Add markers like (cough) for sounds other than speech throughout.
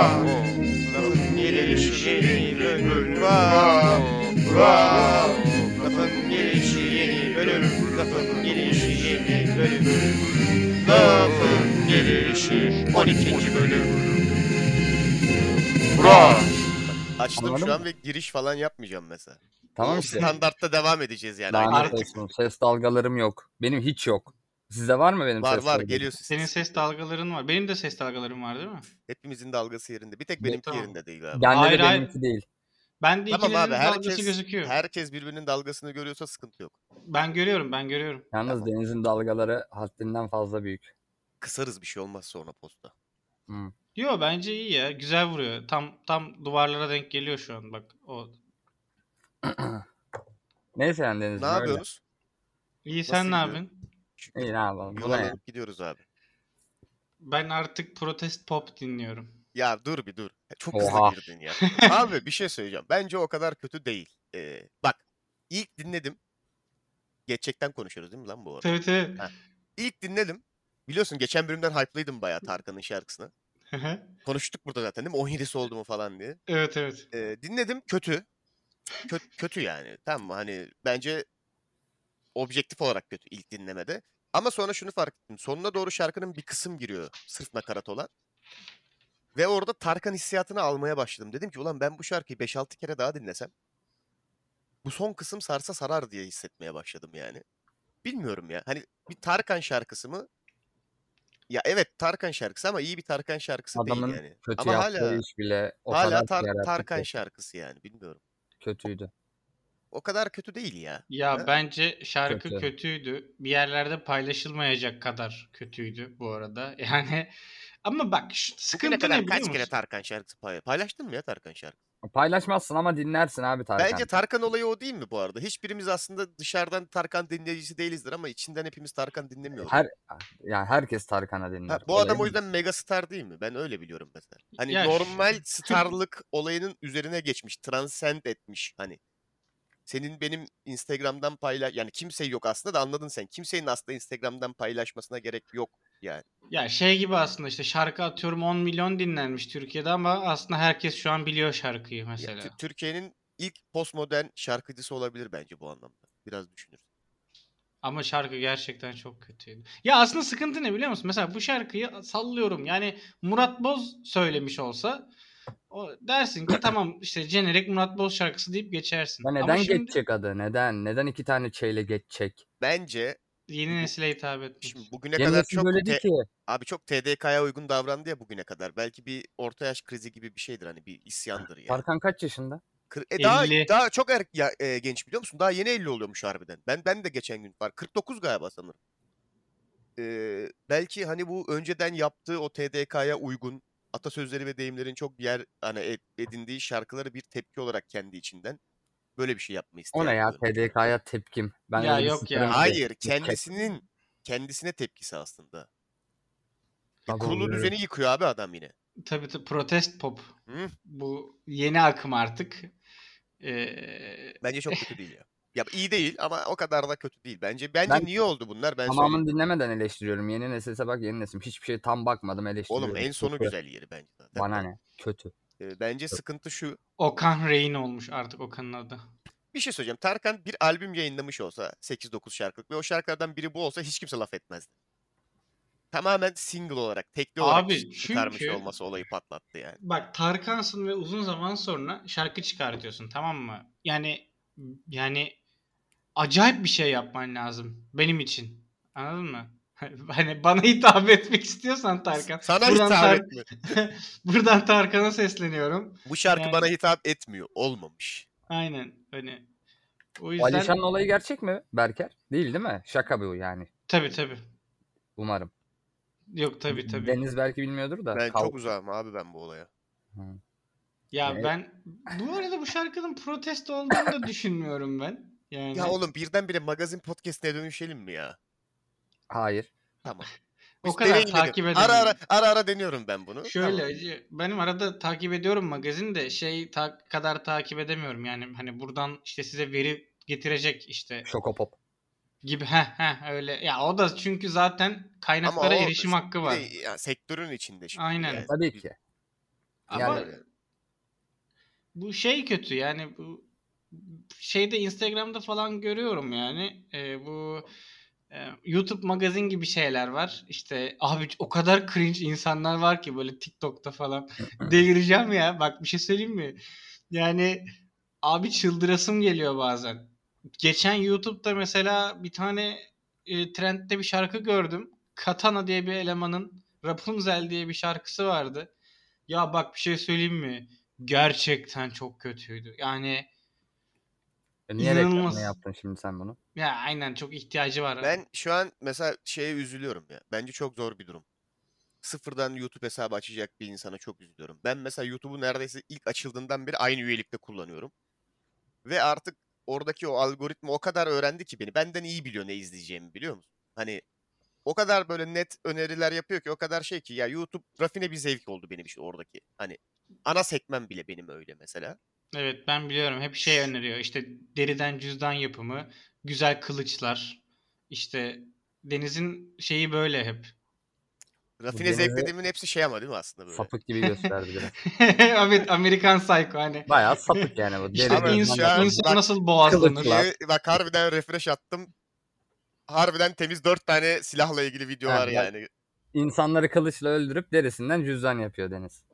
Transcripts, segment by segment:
Lafın gelişi yeni bölüm var. Var. Lafın gelişi yeni bölüm. Lafın gelişi yeni bölüm. Lafın gelişi 12. bölüm. Bra. Açtım Anladın şu an mı? ve giriş falan yapmayacağım mesela. Tamam işte. Standartta devam edeceğiz yani. Aynı Lanet artık. olsun. Ses dalgalarım yok. Benim hiç yok. Sizde var mı benim Var ses var dalgalarım? geliyorsun. Senin ses dalgaların var. Benim de ses dalgalarım var değil mi? Hepimizin dalgası yerinde. Bir tek Be- benimki Tamam. yerinde değil abi. Bende Hayır, de hayır. benimki değil. Ben de Tamam abi ikilerinin dalgası herkes gözüküyor. herkes birbirinin dalgasını görüyorsa sıkıntı yok. Ben görüyorum, ben görüyorum. Yalnız Tamam. denizin dalgaları haddinden fazla büyük. (clears throat) Kısarız bir şey olmaz sonra posta. Hı. Yo bence iyi ya. Güzel vuruyor. Tam tam duvarlara denk geliyor şu an bak. O. Neyse yani denizin Ne öyle. yapıyorsunuz? İyi sen ne gidiyor? yapıyorsun? İyi ne yapalım. Bu Yol ne ya? alıp gidiyoruz abi. Ben artık protest pop dinliyorum. (laughs) Ya dur bir dur. E, Çok Oha. hızlı girdin ya. (laughs) Abi bir şey söyleyeceğim. Bence o kadar kötü değil. Ee, bak ilk dinledim. Gerçekten konuşuyoruz değil mi lan bu arada? Tabii tabii. İlk dinledim. Biliyorsun geçen bölümden hype'lıydım bayağı Tarkan'ın şarkısını. Konuştuk burada zaten değil mi? 17'si oldu mu falan diye. (laughs) evet evet. Ee, dinledim kötü. Kö- kötü yani. Tamam mı? Hani bence objektif olarak kötü ilk dinlemede. Ama sonra şunu fark ettim. Sonuna doğru şarkının bir kısım giriyor. Sırf nakarat olan. Ve orada Tarkan hissiyatını almaya başladım. Dedim ki ulan ben bu şarkıyı 5-6 kere daha dinlesem bu son kısım sarsa sarar diye hissetmeye başladım yani. Bilmiyorum ya. Hani bir Tarkan şarkısı mı? Ya evet Tarkan şarkısı ama iyi bir Tarkan şarkısı Adamın değil yani. kötü ama yaptığı hala iş bile o hala kadar Tar- yarattı Tarkan ki şarkısı yani bilmiyorum. kötüydü. O kadar kötü değil ya. Ya Ha? bence şarkı Kötü. kötüydü. Bir yerlerde paylaşılmayacak kadar kötüydü bu arada. (laughs) Yani ama bak şu Bugüne sıkıntı kadar ne biliyor kaç kere musun? Tarkan şarkısı pay- paylaştın mı ya Tarkan şarkısı? Paylaşmazsın ama dinlersin abi Tarkan. Bence Tarkan olayı o değil mi bu arada? Hiçbirimiz aslında dışarıdan Tarkan dinleyicisi değilizdir ama içinden hepimiz Tarkan dinlemiyoruz. Her yani herkes Tarkan'a dinler. Ha, bu Olayı adam o bu. yüzden mega star değil mi? Ben öyle biliyorum mesela. Hani Ya şu- normal starlık olayının üzerine geçmiş, transcend etmiş hani. Senin benim Instagram'dan paylaş yani kimse yok aslında da anladın sen. Kimsenin aslında Instagram'dan paylaşmasına gerek yok yani. Ya şey gibi aslında işte şarkı atıyorum 10 milyon dinlenmiş Türkiye'de ama aslında herkes şu an biliyor şarkıyı Ya Tü- mesela. Türkiye'nin ilk postmodern şarkıcısı olabilir bence bu anlamda. Biraz düşünür. Ama şarkı gerçekten çok kötüydü. Ya aslında sıkıntı ne biliyor musun? Mesela bu şarkıyı sallıyorum. Yani Murat Boz söylemiş olsa o dersin ki tamam işte jenerik Murat Boz şarkısı deyip geçersin. Ya neden Ama şimdi geçecek adı? Neden? Neden iki tane çeyle geçecek? Bence yeni nesile hitap etmiş. şimdi bugüne Yeni kadar nesil çok böyle değil te- ki. abi çok TDK'ya uygun davrandı ya bugüne kadar. Belki bir orta yaş krizi gibi bir şeydir hani bir isyandır yani. Tarkan kaç yaşında? Kır- e daha 50. daha çok er, ya, e, genç biliyor musun? Daha yeni 50 oluyormuş harbiden. Ben ben de geçen gün var. 49 galiba sanırım. Ee, belki hani bu önceden yaptığı o TDK'ya uygun atasözleri ve deyimlerin çok yer hani e- edindiği şarkıları bir tepki olarak kendi içinden böyle bir şey yapmayı isteyen O ne ya biliyorum. TDK'ya tepkim. Ben Ya öyle bir yok ya. sikerim ki. Hayır, Çek. kendisinin kendisine tepkisi aslında. Ya Abi kurulu oluyor, düzeni yıkıyor abi adam yine. Tabii tabii protest pop. Hı. Bu yeni akım artık. Ee, Bence çok kötü değil ya. Ya iyi değil ama o kadar da kötü değil. Bence bence Ben- niye oldu bunlar ben söyleyeyim. Tamamını dinlemeden eleştiriyorum. Yeni nesese bak yeni nesim. Hiçbir şey tam bakmadım eleştiriyorum. Oğlum en sonu Kötü. güzel yeri bence. zaten. Bana ne? Kötü. Ee, Bence sıkıntı şu. Okan Reyin olmuş artık Okan'ın adı. Bir şey söyleyeceğim. Tarkan bir albüm yayınlamış olsa 8-9 şarkılık ve o şarkılardan biri bu olsa hiç kimse laf etmezdi. Tamamen single olarak, tekli olarak Abi çıkarmış çünkü- olması olayı patlattı yani. Bak Tarkan'sın ve uzun zaman sonra şarkı çıkartıyorsun tamam mı? Yani yani acayip bir şey yapman lazım benim için. Anladın mı? (laughs) Hani bana hitap etmek istiyorsan Tarkan. Sana buradan hitap Tar- etmiyor. (laughs) buradan Tarkan'a sesleniyorum. Bu şarkı Yani- bana hitap etmiyor. Olmamış. Aynen hani. O O yüzden Alişan'ın olayı gerçek mi Berker? Değil değil mi? Şaka bu yani. tabii tabii. Umarım. Yok tabii tabii. Deniz belki bilmiyordur da. Ben Kav- çok uzağım abi ben bu olaya. Ya Evet. ben bu arada bu şarkının protesto olduğunu da düşünmüyorum ben. Yani Ya oğlum birdenbire magazin podcastine dönüşelim mi ya? Hayır. Tamam. O Biz kadar deneyimledim. takip Ara edemedim. ara ara ara deniyorum ben bunu. Şöyle Tamam. acı- benim arada takip ediyorum magazin de şey ta- kadar takip edemiyorum yani hani buradan işte size veri getirecek işte Şokopop. gibi he he öyle ya o da çünkü zaten Ama kaynaklara o- erişim hakkı bir de var. ya sektörün içinde şimdi. Aynen. yani. Tabii ki. Ama Yani- bu şey kötü yani bu şeyde Instagram'da falan görüyorum yani e, bu e, YouTube magazin gibi şeyler var. İşte abi o kadar cringe insanlar var ki böyle TikTok'ta falan delireceğim ya. Bak bir şey söyleyeyim mi? Yani abi çıldırasım geliyor bazen. Geçen YouTube'da mesela bir tane e, trendde bir şarkı gördüm. Katana diye bir elemanın Rapunzel diye bir şarkısı vardı. Ya bak bir şey söyleyeyim mi? Gerçekten çok kötüydü. Yani E Niye reklamını İnanılmaz. yaptın şimdi sen bunu? ya aynen çok ihtiyacı var. Ben şu an mesela şeye üzülüyorum ya. Bence çok zor bir durum. Sıfırdan YouTube hesabı açacak bir insana çok üzülüyorum. Ben mesela YouTube'u neredeyse ilk açıldığından beri aynı üyelikte kullanıyorum. Ve artık oradaki o algoritma o kadar öğrendi ki beni. Benden iyi biliyor ne izleyeceğimi biliyor musun? Hani o kadar böyle net öneriler yapıyor ki o kadar şey ki ya YouTube rafine bir zevk oldu benim için oradaki. Hani ana sekmem bile benim öyle mesela. Evet ben biliyorum. Hep şey öneriyor. İşte deriden cüzdan yapımı, güzel kılıçlar. İşte Deniz'in şeyi böyle hep. (laughs) Rafine Genelde- zevk dediğimin hepsi şey ama değil mi aslında böyle? Sapık gibi gösterdi biraz. Evet Amerikan Psycho hani. Bayağı sapık yani bu. (laughs) İşte Deri- Ama ins- şu an- insan bak, nasıl boğazlanır. kılıçlar. Ee, Bak harbiden refresh attım. Harbiden temiz dört tane silahla ilgili video Ha, var bak. yani. İnsanları kılıçla öldürüp derisinden cüzdan yapıyor Deniz.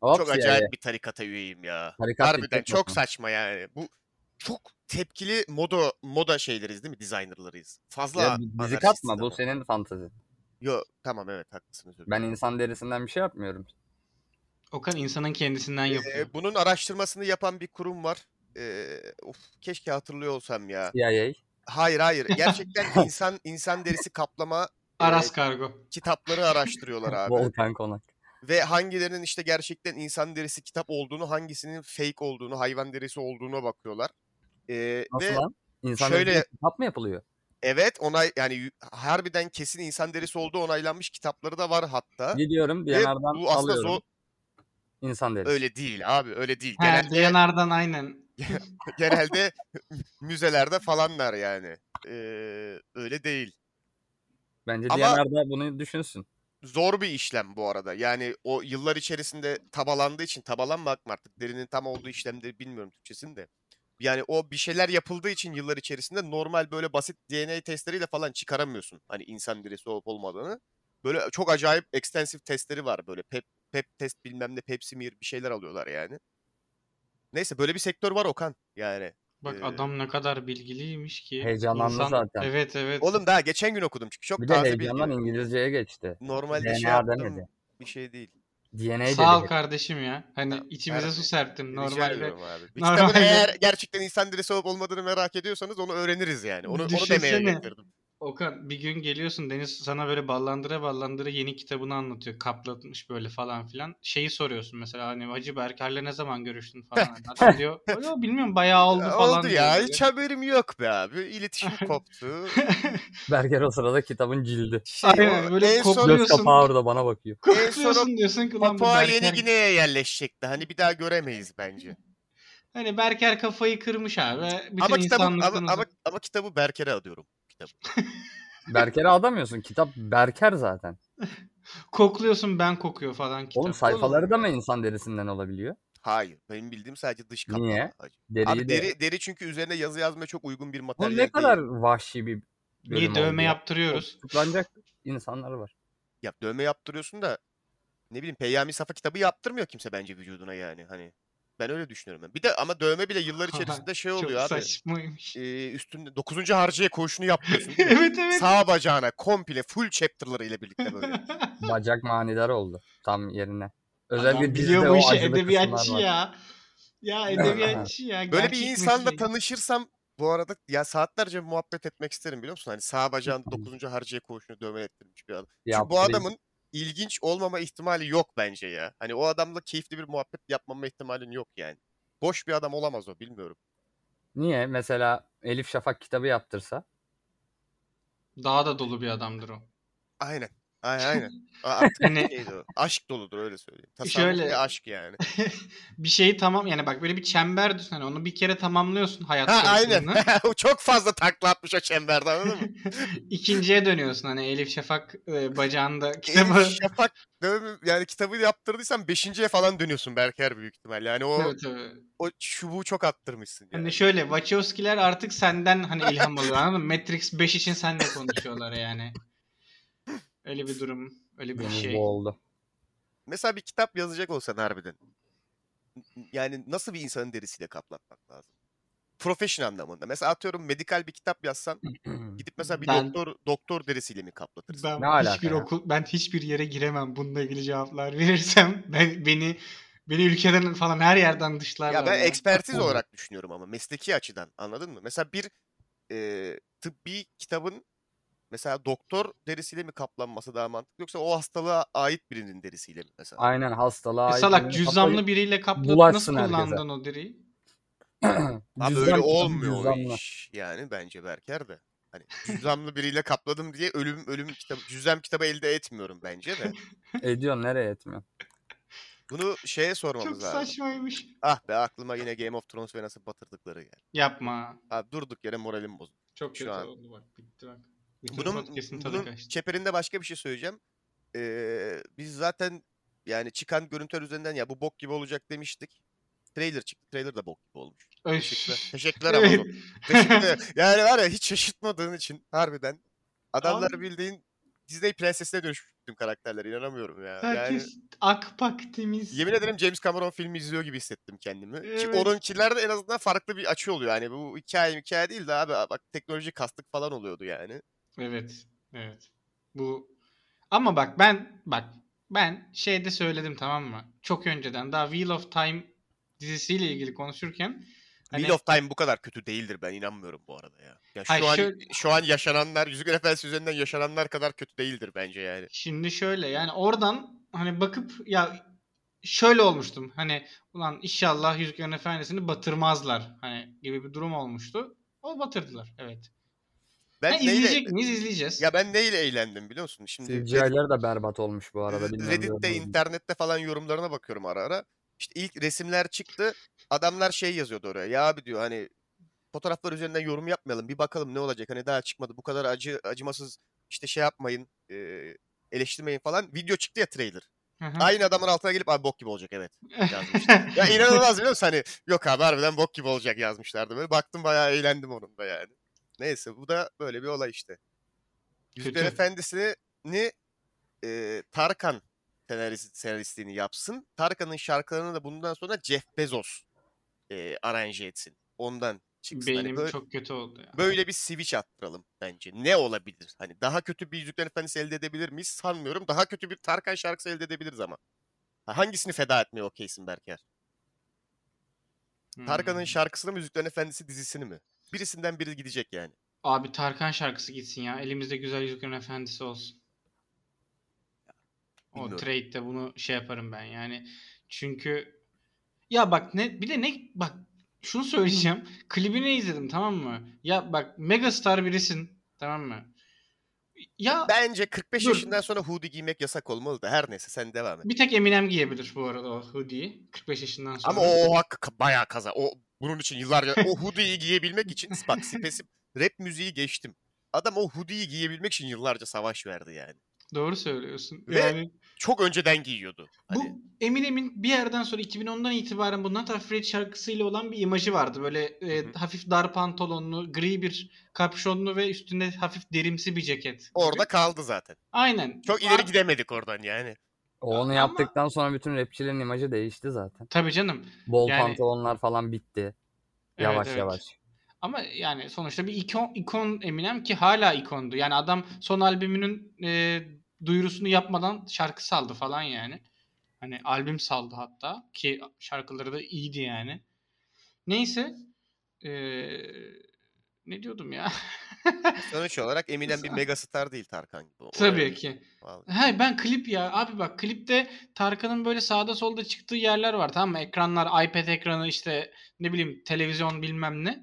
Hop çok CIA. acayip bir tarikata üyeyim ya. Tarikat harbiden dikkat çok bakma. saçma yani. Bu çok tepkili moda moda şeyleriz değil mi? Designerlarıyız. Fazla Ya bi- bizi anarşistiz katma bu ama. senin fantezi. Yo tamam evet haklısınız. Ben insan derisinden bir şey yapmıyorum. Okan insanın kendisinden yapıyor. Ee, bunun araştırmasını yapan bir kurum var. Ee, of keşke hatırlıyor olsam (laughs) ya. CIA. Hayır hayır. Gerçekten insan insan derisi kaplama e, Aras Kargo. kitapları araştırıyorlar (laughs) abi. Volkan Konak. Ve hangilerinin işte gerçekten insan derisi kitap olduğunu, hangisinin fake olduğunu, hayvan derisi olduğuna bakıyorlar. Ee, Nasıl ve lan? İnsan şöyle- şöyle... kitap mı yapılıyor? evet onay yani y- harbiden kesin insan derisi olduğu onaylanmış kitapları da var hatta. Gidiyorum Ve Diyanar'dan bu aslında alıyorum. zo- İnsan derisi. öyle değil abi öyle değil. He, Genelde, Diyanar'dan aynen. genelde müzelerde falanlar yani. Ee, öyle değil. Bence Ama- Diyanar'da bunu düşünsün. Zor bir işlem bu arada. Yani o yıllar içerisinde tabalandığı için tabalanmak mı artık derinin tam olduğu işlemleri bilmiyorum Türkçesini de. Yani o bir şeyler yapıldığı için yıllar içerisinde normal böyle basit DNA testleriyle falan çıkaramıyorsun. Hani insan derisi olup olmadığını. Böyle çok acayip ekstensif testleri var böyle. Pep, pep test bilmem ne pepsimir bir şeyler alıyorlar yani. Neyse böyle bir sektör var Okan yani. Bak Ee, adam ne kadar bilgiliymiş ki. Heyecanlandı İnsan- zaten. Evet evet. Oğlum daha geçen gün okudum çünkü çok Bir de taze bilgi. heyecandan İngilizceye geçti. Normalde şey DNA yaptım demedi. bir şey değil. DNA Sağ ol dedi. kardeşim ya. Hani Ya, içimize harbi. su serptin Rica normalde. ediyorum abi. Bir normalde- kitabın eğer gerçekten insan derisi olup olmadığını merak ediyorsanız onu öğreniriz yani. Onu, onu demeye Düşünsene. getirdim. Okan bir gün geliyorsun Deniz sana böyle ballandıra ballandıra yeni kitabını anlatıyor. Kaplatmış böyle falan filan. Şeyi soruyorsun mesela hani Hacı Berker'le ne zaman görüştün falan. Hani (laughs) Adam diyor "Yo, bilmiyorum bayağı oldu Ya, falan. Oldu diyor ya. böyle. (laughs) Hiç haberim yok be abi. İletişim koptu. Berker o sırada kitabın cildi. Şey, Aynen, o- böyle en son Göz Kopuyorsun. kapağı orada bana bakıyor. Kokluyorsun diyorsun ki lan bu Papua Berker. Yeni Gine'ye yerleşecekti. Hani bir daha göremeyiz bence. Hani Berker kafayı kırmış abi. Bütün ama kitabı ama, insanlıktan ama, uzak. ama kitabı Berker'e adıyorum. Berker'e adamıyorsun. Kitap Berker zaten. kokluyorsun ben kokuyor falan kitap. Oğlum sayfaları da mı insan derisinden olabiliyor? Hayır. Benim bildiğim sadece dış kaplama. Niye? Hacı. Deriyi Abi de- deri, deri çünkü üzerine yazı yazmaya çok uygun bir Oğlum materyal ne kadar değil. vahşi bir bölüm İyi dövme oldu ya. yaptırıyoruz. Tutuklanacak insanlar var. Ya dövme yaptırıyorsun da ne bileyim Peyami Safa kitabı yaptırmıyor kimse bence vücuduna yani. Hani ben öyle düşünüyorum. Ben. Bir de ama dövme bile (laughs) yıllar içerisinde şey Çok oluyor abi. (laughs) saçmaymış. Ee, üstünde 9. harcıya koşunu yapıyorsun. değil mi? evet (laughs) evet. Sağ bacağına komple full chapter'ları ile birlikte (laughs) böyle. Bacak manidar oldu tam yerine. Özel Adam bir biliyor dizide bu o işi acılı edebiyatçı kısımlar var. ya. Ya edebiyatçı ya. Böyle bir gerçek şey. insanla mesleği. tanışırsam bu arada ya saatlerce muhabbet etmek isterim biliyor musun? Hani sağ bacağında 9. harcıya koğuşunu dövme ettirmiş bir adam. Çünkü bu Yaptırayım. adamın ilginç olmama ihtimali yok bence ya. Hani o adamla keyifli bir muhabbet yapmama ihtimalin yok yani. Boş bir adam olamaz o bilmiyorum. Niye? Mesela Elif Şafak kitabı yaptırsa. Daha da dolu bir adamdır o. Aynen. Aynen (laughs) aynen. A- Artık Hani- neydi o? Aşk doludur öyle söyleyeyim. Tasavvuf Şöyle- ve aşk (laughs) yani. (laughs) bir şeyi tamam yani bak böyle bir çember düşün hani onu bir kere tamamlıyorsun hayat Ha aynen. (laughs) sorusunu. O çok fazla takla atmış o çemberde anladın (laughs) mı? İkinciye dönüyorsun hani Elif Şafak e, bacağında kitabı. Elif (laughs) Şafak dövme- yani kitabı yaptırdıysan 5.ye falan dönüyorsun Berker büyük ihtimalle. Yani o Tabii, tabii. o çubuğu çok attırmışsın yani. Hani şöyle Wachowski'ler artık senden hani ilham alıyor anladın mı? Matrix 5 için seninle konuşuyorlar yani. Öyle bir durum. Öyle bir Benim şey. bu oldu. Mesela bir kitap yazacak olsan harbiden. Yani nasıl bir insanın derisiyle kaplatmak lazım? Profesyonel anlamında. Mesela atıyorum medikal bir kitap yazsan gidip mesela bir Ben- doktor doktor derisiyle mi kaplatırsın? Ben Ne alaka hiçbir ya? okul ben hiçbir yere giremem bununla ilgili cevaplar (laughs) verirsem ben beni beni ülkeden falan her yerden dışlarlar. ya ben ekspertiz Olur. olarak düşünüyorum ama mesleki açıdan anladın mı? Mesela bir e, tıbbi kitabın mesela doktor derisiyle mi kaplanması daha mantıklı yoksa o hastalığa ait birinin derisiyle mi mesela? (clears throat) Aynen hastalığa E ait salak birinin cüzdanlı kafayı- biriyle kaplı nasıl bulaşsın herkese. kullandın o deriyi? (clears throat) Abi Cüzdan öyle kitabı olmuyor o cüzdanla. iş. Yani bence Berker de. Hani cüzdanlı biriyle kapladım diye ölüm ölüm kitabı cüzdan kitabı elde etmiyorum bence de. Ediyorsun E, nereye etmiyor. Bunu şeye sormamız Çok lazım. saçmaymış. Ah be aklıma yine Game of Thrones ve nasıl batırdıkları yani. Yapma. Abi durduk yere moralim bozuldu. Çok Şu kötü an. oldu bak. Bitti bak. Bütün Bunun, podcast'in tadı bunun kaçtı. çeperinde başka bir şey söyleyeceğim. Ee, biz zaten yani çıkan görüntüler üzerinden ya bu bok gibi olacak demiştik. Trailer çıktı. Trailer da bok gibi olmuş. Teşekkürler. Öf. Teşekkürler Evet. Amazon. (laughs) Teşekkürler. yani var ya hiç şaşırtmadığın için harbiden. Adamlar Abi- bildiğin Disney prensesine dönüşmüş bütün karakterler. inanamıyorum ya. Yani Herkes akpak temiz. yemin ederim James Cameron filmi izliyor gibi hissettim kendimi. Ki Evet. onunkiler de en azından farklı bir açı oluyor. Yani bu hikaye hikaye değil de abi bak teknoloji kastık falan oluyordu yani. Evet. Evet. Bu ama bak ben bak ben şeyde söyledim tamam mı? Çok önceden daha Wheel of Time dizisiyle ilgili konuşurken hani Wheel of Time bu kadar kötü değildir ben inanmıyorum bu arada ya. Ya şu Hayır, an şöyle- şu an yaşananlar Yüzük Efendisi üzerinden yaşananlar kadar kötü değildir bence yani. şimdi şöyle yani oradan hani bakıp ya şöyle olmuştum. Hani ulan inşallah Yüzüklerin Efendisi'ni batırmazlar hani gibi bir durum olmuştu. O batırdılar evet. Ben Ha, izleyecek miyiz izleyeceğiz. Ya ben neyle eğlendim biliyor musun? Şimdi Reddit- CGI'ler de berbat olmuş bu arada. bilmiyorum Reddit'te, gördünüz mü? internette falan yorumlarına bakıyorum ara ara. İşte ilk resimler çıktı. Adamlar şey yazıyordu oraya. Ya abi diyor hani fotoğraflar üzerinden yorum yapmayalım. Bir bakalım ne olacak. Hani daha çıkmadı. Bu kadar acı acımasız işte şey yapmayın. e, eleştirmeyin falan. Video çıktı ya trailer. Hı hı. (laughs) Aynı adamın altına gelip abi bok gibi olacak evet yazmışlar. ya inanılmaz biliyor musun? Hani yok abi harbiden bok gibi olacak yazmışlardı. Böyle baktım bayağı eğlendim onun da yani. Neyse bu da böyle bir olay işte. Yüzükler Kötü. Efendisi'ni e, Tarkan senarist, senaristliğini yapsın. Tarkan'ın şarkılarını da bundan sonra Jeff Bezos e, aranje etsin. Ondan çıksın. Hani Beynim böyle, çok kötü oldu ya. böyle bir switch attıralım bence. Ne olabilir? Hani daha kötü bir Yüzükler Efendisi elde edebilir miyiz? Sanmıyorum. Daha kötü bir Tarkan şarkısı elde edebiliriz ama. Ha, Hangisini feda etmeye okeysin Berker? Tarkan'ın Hmm. şarkısını mı Yüzüklerin Efendisi dizisini mi? Birisinden biri gidecek yani. Abi Tarkan şarkısı gitsin ya. Elimizde güzel yüzüklerin efendisi olsun. O Bilmiyorum. trade'de bunu şey yaparım ben yani. Çünkü ya bak ne bir de ne bak şunu söyleyeceğim. (laughs) Klibini izledim tamam mı? Ya bak megastar birisin tamam mı? Ya Bence 45 Dur. yaşından sonra hoodie giymek yasak olmalı da her neyse sen devam et. bir tek Eminem giyebilir bu arada o hoodie'yi. 45 yaşından sonra. Ama o, o hak bayağı kaza. O bunun için yıllarca o hoodie'yi giyebilmek (laughs) için bak spesif rap müziği geçtim. Adam o hoodie'yi giyebilmek için yıllarca savaş verdi yani. Doğru söylüyorsun. Ve- Yani Çok önceden giyiyordu. Bu Hani Eminem'in bir yerden sonra 2010'dan itibaren bu Not Afraid şarkısıyla olan bir imajı vardı. Böyle e, Hı hı. hafif dar pantolonlu, gri bir kapşonlu ve üstünde hafif derimsi bir ceket. orada kaldı zaten. Aynen. Çok ileri gidemedik oradan yani. O onu Ama- yaptıktan sonra bütün rapçilerin imajı değişti zaten. Tabii canım. Bol Yani- pantolonlar falan bitti. Evet, Yavaş evet. yavaş. Ama yani sonuçta bir ikon, ikon Eminem ki hala ikondu. Yani adam son albümünün e, duyurusunu yapmadan şarkı saldı falan yani. Hani albüm saldı hatta ki şarkıları da iyiydi yani. Neyse. E, ne diyordum ya? Sonuç olarak Eminem bir megastar değil Tarkan gibi. O Tabii öyle. ki. Vallahi. He ben klip ya. Abi bak klipte Tarkan'ın böyle sağda solda çıktığı yerler var tamam mı? Ekranlar, iPad ekranı işte ne bileyim televizyon bilmem ne.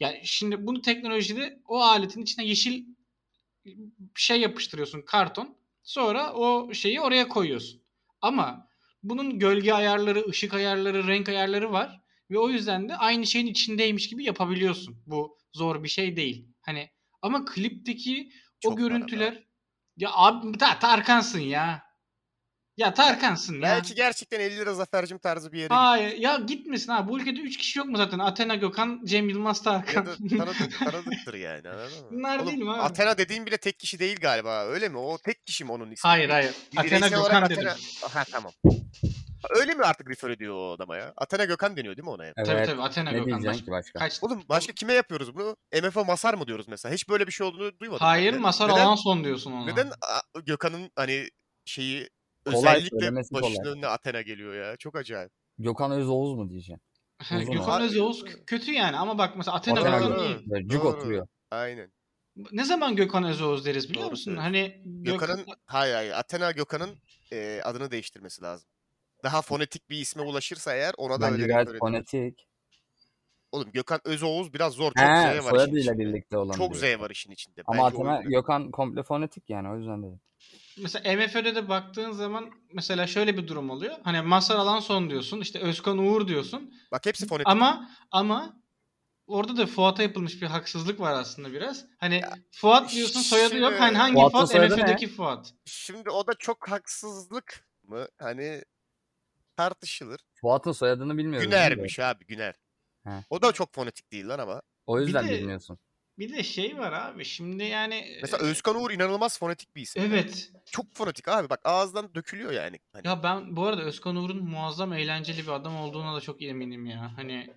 Ya şimdi bunu teknolojide o aletin içine yeşil bir şey yapıştırıyorsun karton. Sonra o şeyi oraya koyuyorsun. Ama bunun gölge ayarları, ışık ayarları, renk ayarları var. Ve o yüzden de aynı şeyin içindeymiş gibi yapabiliyorsun. Bu zor bir şey değil. Hani ama klipteki Çok o var ama. görüntüler ya abi ta, Tarkansın ya. Ya Tarkansın ya. Belki gerçekten 50 lira Zafer'cim tarzı bir yere gitti. Hayır ya gitmesin abi. Bu ülkede 3 kişi yok mu zaten? Athena Gökhan, Cem Yılmaz Ya Tarkan. da tanıdık, tanıdıktır yani anladın mı? Bunlar değil mi abi? Athena dediğin bile tek kişi değil galiba öyle mi? O tek kişi mi onun ismi? (laughs) hayır hayır. Athena Bireysel olarak Gökhan dedim. Athena- Ha tamam. Öyle mi artık refer ediyor o adama ya? Athena Gökhan deniyor değil mi ona? ya? Evet. Tabii tabii Athena Ne Gökhan. diyeceksin Baş- ki başka? Kaç? Oğlum başka kime yapıyoruz bunu? MFO Masar mı diyoruz mesela? Hiç böyle bir şey olduğunu duymadım. ben Hayır de. Masar neden, Alanson diyorsun ona. Neden a- Gökhan'ın hani şeyi Kolay, özellikle söylemesi kolay. başının önüne Athena geliyor ya? Çok acayip. Gökhan Özoğuz mu diyeceksin? Ha, Uzun (laughs) Gökhan abi. Özoğuz k- kötü yani ama bak mesela Athena Athena Gökhan Gökhan. (laughs) iyi. Böyle cuk Doğru. oturuyor. Aynen. Ne zaman Gökhan Özoğuz deriz biliyor Doğru musun? söylüyorsun. Hani Gökhan, Gökhan'ın hayır hayır Athena Gökhan'ın e, adını değiştirmesi lazım. Daha fonetik bir isme ulaşırsa eğer ona da Bence öyle gayet refer ediyor. fonetik. Oğlum Gökhan Özoğuz biraz zor. Çok Z var He, işin soyadıyla içinde. birlikte olan. Çok Z diyor. var işin içinde. Ama Bence o Athena yüzden. Gökhan komple fonetik yani o yüzden dedim. mesela MFÖ'de de baktığın zaman mesela şöyle bir durum oluyor. Hani Masar Alanson diyorsun, işte Özkan Uğur diyorsun. Bak hepsi fonetik. Ama ama orada da Fuat'a yapılmış bir haksızlık var aslında biraz. Hani Fuat diyorsun soyadı yok. Hani şimdi- hangi Fuat'ın Fuat? soyadı ne? MFÖ'deki Fuat. Şimdi o da çok haksızlık mı? Hani tartışılır. Fuat'ın soyadını bilmiyorum. Güner'miş abi Güner. He. O da çok fonetik değil lan ama. O yüzden de- bilmiyorsun. Bir de şey var abi. Şimdi yani Mesela e, Özkan Uğur inanılmaz fonetik bir isim. Evet. Çok fonetik abi bak ağızdan dökülüyor yani. Hani Ya ben bu arada Özkan Uğur'un muazzam eğlenceli bir adam olduğuna da çok eminim ya. Hani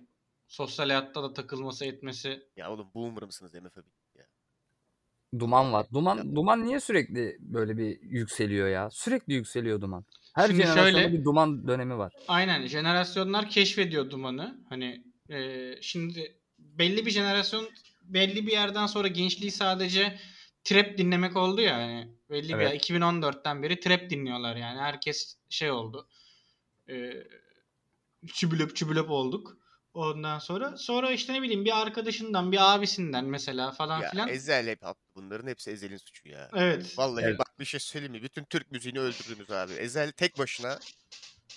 sosyal hayatta da takılması etmesi. ya oğlum boomer mısınız MFB? Ya. Duman var. Duman Ya- duman niye sürekli böyle bir yükseliyor ya? Sürekli yükseliyor duman. Her Şimdi jenerasyonda şöyle- bir duman dönemi var. Aynen jenerasyonlar keşfediyor dumanı. Hani e, şimdi belli bir jenerasyon belli bir yerden sonra gençliği sadece trap dinlemek oldu ya. Yani belli bir Evet. 2014'ten beri trap dinliyorlar yani. Herkes şey oldu. E, çübülöp çübülöp olduk. Ondan sonra sonra işte ne bileyim bir arkadaşından bir abisinden mesela falan ya filan. Ezel hep bunların hepsi Ezel'in suçu ya. evet. Vallahi Evet. bak bir şey söyleyeyim mi? Bütün Türk müziğini öldürdünüz abi. Ezel tek başına.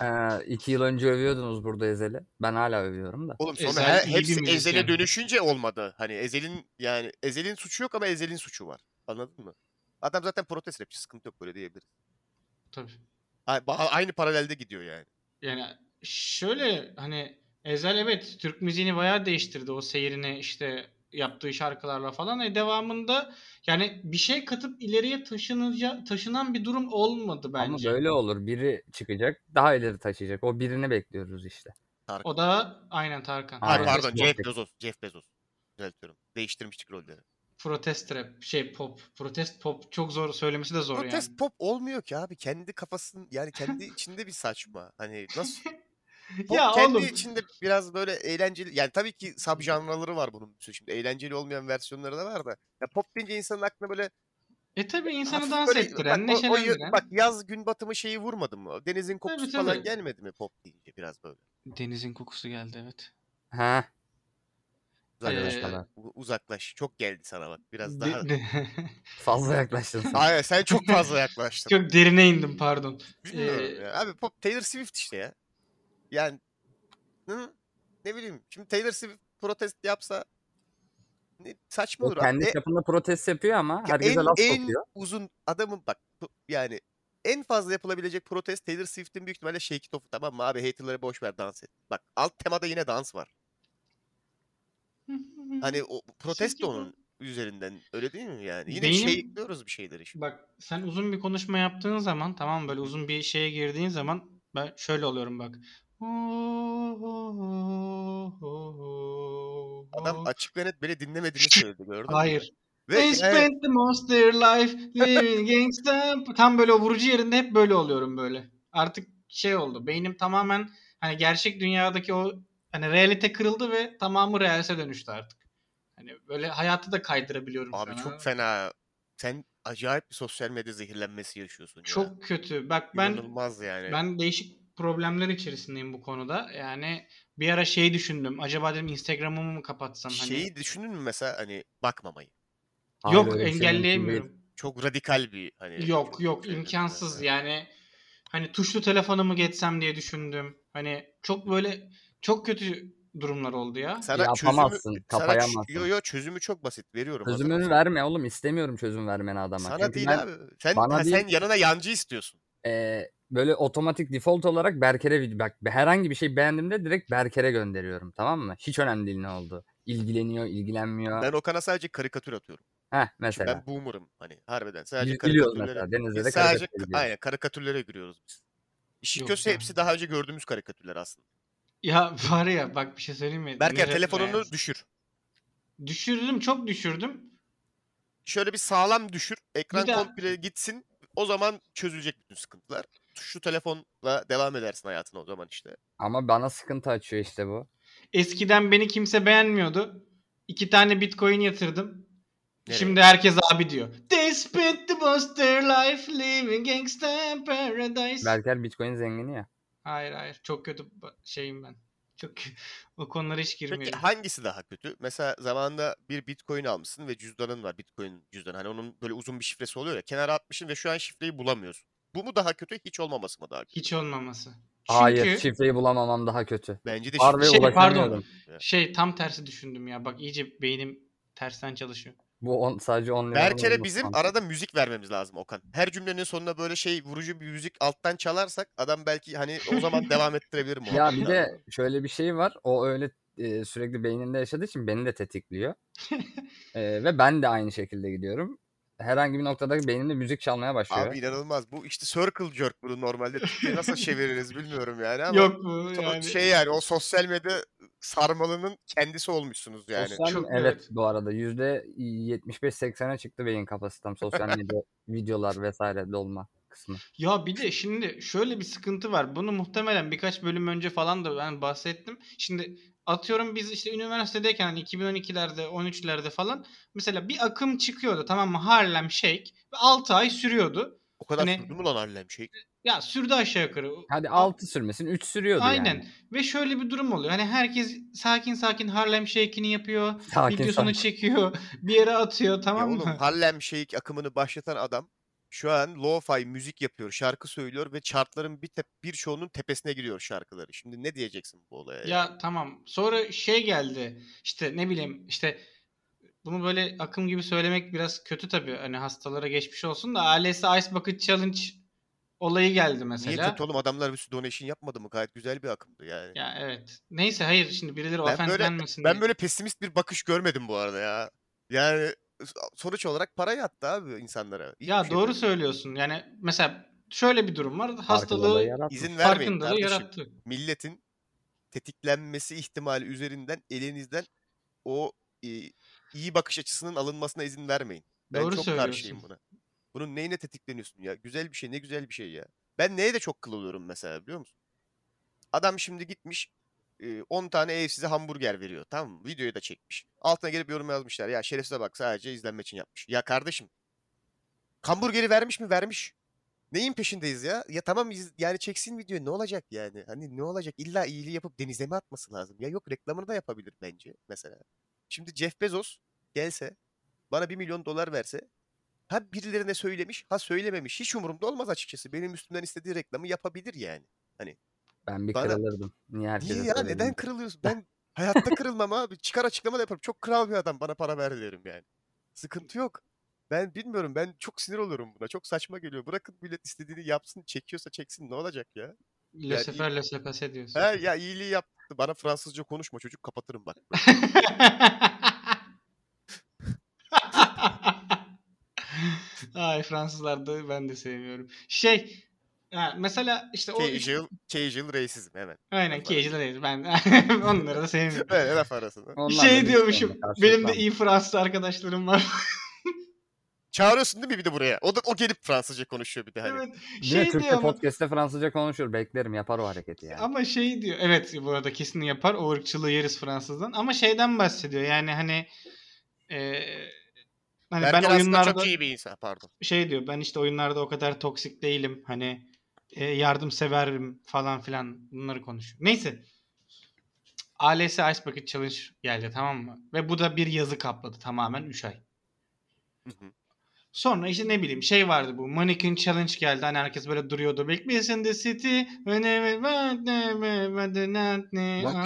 Ee, iki yıl önce övüyordunuz burada Ezel'i. Ben hala övüyorum da. Oğlum sonra Ezel her, iyi bir hepsi Ezel'e müzisyen. dönüşünce olmadı. Hani Ezel'in yani Ezel'in suçu yok ama Ezel'in suçu var. Anladın mı? Adam zaten protest rapçi sıkıntı yok böyle diyebiliriz. Tabii. A- ba- Aynı paralelde gidiyor yani. Yani şöyle hani Ezel evet Türk müziğini bayağı değiştirdi o seyrini işte yaptığı şarkılarla falan. E devamında yani bir şey katıp ileriye taşınıca, taşınan bir durum olmadı bence. Ama böyle olur. Biri çıkacak daha ileri taşıyacak. O birini bekliyoruz işte. O da aynen Tarkan. Ha, Aynen. Protest, pardon Yok, Jeff yok. Bezos. Jeff Bezos. Düzeltiyorum. Değiştirmiştik rolleri. protest rap şey pop. Protest pop çok zor söylemesi de zor (laughs) Protest yani. (laughs) pop olmuyor ki abi. Kendi kafasının yani kendi içinde bir saçma. Hani nasıl Bu Ya kendi oğlum. içinde biraz böyle eğlenceli. Yani tabii ki subjanraları var bunun. bir sürü. Şimdi eğlenceli olmayan versiyonları da var da. Ya pop deyince insanın aklına böyle E tabi insanı hafif dans böyle- ettiren, bak, o- o ya- neşelendiren. bak yaz gün batımı şeyi vurmadı mı? Denizin kokusu tabii. falan gelmedi mi pop deyince biraz böyle? Denizin kokusu geldi evet. Ha. Uzaklaş Ee, falan. U- Uzaklaş. Çok geldi sana bak. Biraz daha. De- de- Fazla yaklaştın sen. (laughs) Hayır sen çok fazla yaklaştın. (laughs) Çok derine (laughs) indim pardon. Bilmiyorum Ee, ya. Abi pop Taylor Swift işte ya. Yani hı, ne bileyim. Şimdi Taylor Swift protest yapsa ne, saçma O olur. abi. kendi E- çapında protest yapıyor ama Ya herkese en, laf en sokuyor. uzun adamın bak bu- yani en fazla yapılabilecek protest Taylor Swift'in büyük ihtimalle Shake It Off'u tamam mı abi haterları boş ver dans et. Bak alt temada yine dans var. Hani o Shake It protesto Off. onun üzerinden öyle değil mi yani? Yine Beynim- shake'liyoruz bir şeyleri şimdi. Bak sen uzun bir konuşma yaptığın zaman tamam mı? böyle uzun bir şeye girdiğin zaman ben şöyle oluyorum bak. Adam açık ve net beni dinlemediğini söyledi gördün mü? Hayır. Ve They yani spent the most of their life (laughs) living gangsta. Tam böyle o vurucu yerinde hep böyle oluyorum böyle. Artık şey oldu. Beynim tamamen hani gerçek dünyadaki o hani realite kırıldı ve tamamı realse dönüştü artık. Hani böyle hayatı da kaydırabiliyorum. şu abi an, çok anladın mı? fena. Sen acayip bir sosyal medya zehirlenmesi yaşıyorsun ya. Çok kötü. Bak ben İnanılmaz yani. Ben değişik problemler içerisindeyim bu konuda. Yani bir ara şey düşündüm. Acaba dedim Instagram'ımı mı kapatsam? Hani... Şeyi düşünün mü mesela hani bakmamayı. Hayır, Yok öyle bir şey mümkün değil. engelleyemiyorum. Çok radikal bir hani. yok çok yok şeyler. imkansız Evet. yani. Hani tuşlu telefonumu geçsem diye düşündüm. Hani çok böyle çok kötü durumlar oldu ya. Sana Yapamazsın, çözümü, kapayamazsın. Sana, ç- yo yo çözümü çok basit veriyorum. hazır Çözümünü mısın? verme oğlum. istemiyorum çözüm vermeni adama. Sana Çünkü değil ben, abi. Sen, bana ha, sen değil. yanına yancı istiyorsun. e, böyle otomatik default olarak Berker'e vid- bak herhangi bir şey beğendiğimde direkt Berker'e gönderiyorum tamam mı? Hiç önemli değil ne oldu. İlgileniyor, ilgilenmiyor. Ben Okan'a sadece karikatür atıyorum. Heh Şimdi mesela. ben boomer'ım hani harbiden. Sadece Biz gülüyoruz karikatürlere. mesela denizde de Biz sadece karikatür ediyoruz. aynen karikatürlere giriyoruz biz. İşi Yok köse ya. hepsi daha önce gördüğümüz karikatürler aslında. Ya (laughs) var ya bak bir şey söyleyeyim mi? Berker Ne- telefonunu ne- düşür. düşürdüm çok düşürdüm. Şöyle bir sağlam düşür. Ekran daha- komple gitsin. O zaman çözülecek bütün sıkıntılar. Şu telefonla devam edersin hayatına o zaman işte. Ama bana sıkıntı açıyor işte bu. Eskiden beni kimse beğenmiyordu. İki tane bitcoin yatırdım. Nereye? Şimdi herkes abi diyor. They spent the most their life living gangsta paradise. Berker Bitcoin zengini ya. Hayır hayır çok kötü ba- şeyim ben. Çok kö- (laughs) o konulara hiç Peki girmiyorum. hangisi daha kötü? Mesela zamanında bir bitcoin almışsın ve cüzdanın var bitcoin cüzdanı. Hani onun böyle uzun bir şifresi oluyor ya. Kenara atmışsın ve şu an şifreyi bulamıyorsun. Bu mu daha kötü? Hiç olmaması mı daha kötü? Hiç olmaması. Çünkü Hayır şifreyi bulamamam daha kötü. Bence de Var ve Şey, pardon. ulaşamıyorum. şey tam tersi düşündüm ya. Bak iyice beynim tersten çalışıyor. Bu on, sadece 10 lira. Berker'e bizim arada müzik vermemiz lazım Okan. Her cümlenin sonuna böyle şey vurucu bir müzik alttan çalarsak adam belki hani o (laughs) zaman devam ettirebilir mi? Ya bir de şöyle bir şey var. O öyle e, sürekli beyninde yaşadığı için beni de (laughs) tetikliyor. E, ve ben de aynı şekilde gidiyorum. Herhangi bir noktada beynimde müzik çalmaya başlıyor. Abi inanılmaz. Bu işte circle jerk bunu normalde. Türkçe'ye nasıl çeviririz bilmiyorum yani ama. Yok bu son- yani. Şey yani o sosyal medya sarmalının kendisi olmuşsunuz yani. Sosyal- Çok- evet, evet. bu arada yüzde 75-80'e çıktı beyin kapasitem sosyal medya videolar vesaire dolma kısmı. Ya bir de şimdi şöyle bir sıkıntı var. Bunu muhtemelen birkaç bölüm önce falan da ben bahsettim. Şimdi atıyorum biz işte üniversitedeyken hani 2012'lerde 13'lerde falan mesela bir akım çıkıyordu tamam mı Harlem Shake ve 6 ay sürüyordu. O kadar Hani- sürdü mü lan Harlem şey? Ya sürdü aşağı yukarı. Hadi 6 sürmesin 3 sürüyordu Aynen. yani. Ve şöyle bir durum oluyor. Hani herkes sakin sakin Harlem Shake'ini yapıyor. (laughs) Sakin videosunu sakin. çekiyor. Bir yere atıyor tamam ya mı? oğlum Harlem Shake akımını başlatan adam şu an lo-fi müzik yapıyor, şarkı söylüyor ve chartların bir tep birçoğunun tepesine giriyor şarkıları. Şimdi ne diyeceksin bu olaya? yani? Ya tamam. Sonra şey geldi. İşte ne bileyim işte bunu böyle akım gibi söylemek biraz kötü tabii. Hani hastalara geçmiş olsun da ailesi Ice Bucket Challenge olayı geldi Niye mesela. kötü oğlum adamlar bir sürü donation yapmadı mı? Gayet güzel bir akımdı yani. Ya evet. Neyse hayır şimdi birileri Ben offense böyle- denmesin Ben diye. böyle pesimist bir bakış görmedim bu arada ya. Yani sonuç olarak para yattı abi insanlara. İyi bir Ya şey doğru değil. söylüyorsun. Yani mesela şöyle bir durum var. Farkındalığı Hastalığı yaratmış. İzin vermeyin farkındalığı kardeşim. yarattı. milletin tetiklenmesi ihtimali üzerinden elinizden o e, iyi bakış açısının alınmasına izin vermeyin. Ben Doğru çok söylüyorsun. karşıyım buna. Bunun neyine tetikleniyorsun ya? Güzel bir şey, ne güzel bir şey ya. Ben neye de çok kıl oluyorum mesela biliyor musun? Adam şimdi gitmiş e, 10 tane ev size hamburger veriyor tamam mı? Videoyu da çekmiş. Altına gelip yorum yazmışlar. Ya şerefsize bak sadece izlenme için yapmış. Ya kardeşim hamburgeri vermiş mi? Vermiş. Neyin peşindeyiz ya? Ya tamam iz- yani çeksin videoyu ne olacak yani? Hani ne olacak? İlla iyiliği yapıp denize mi atması lazım? Ya yok reklamını da yapabilir bence mesela. Şimdi Jeff Bezos gelse bana 1 milyon dolar verse ha birilerine söylemiş ha söylememiş hiç umurumda olmaz açıkçası. Benim üstümden istediği reklamı yapabilir yani. Ben bir Bana- kırılırdım. Niye herkese Niye ya söyledin? neden kırılıyorsun? Ben hayatta kırılmam abi. Çıkar açıklama da yaparım. Çok kral bir adam bana para ver derim yani. Sıkıntı yok. Ben bilmiyorum ben çok sinir olurum buna. Çok saçma geliyor. Bırakın millet istediğini yapsın. Çekiyorsa çeksin ne olacak ya? Le Yani- sefer le sekas ediyorsun. Ha, ya iyiliği yaptı. Bana Fransızca konuşma çocuk kapatırım bak. (laughs) Ay Fransızlar da ben de sevmiyorum. Şey ha, mesela işte o üç- Casual, casual racism hemen. aynen keyiciler ben (laughs) onları da sevmiyorum. Böyle laf arasında. Onlar da şey bir diyormuşum. sorunla karşılaşmam. Benim de iyi Fransız arkadaşlarım var. Çağırıyorsun değil mi bir de buraya? O da o gelip Fransızca konuşuyor bir de hani. evet. Bir de Şey Türkçe diyor ama, podcast'te Fransızca konuşur. Beklerim yapar o hareketi yani. ama şey diyor. Evet bu arada kesin yapar. O ırkçılığı yeriz Fransız'dan. Ama şeyden bahsediyor. Yani hani e, hani Berker ben aslında oyunlarda çok iyi bir insan. Pardon. şey diyor ben işte oyunlarda o kadar toksik değilim hani e, yardımseverim falan filan bunları konuşuyor. Neyse. ALS Ice Bucket Challenge geldi tamam mı? Ve bu da bir yazı kapladı tamamen 3 ay. Hı hı. Sonra işte ne bileyim şey vardı bu Mannequin Challenge geldi. Hani herkes böyle duruyordu. Bekleyesin de City. Bak Bak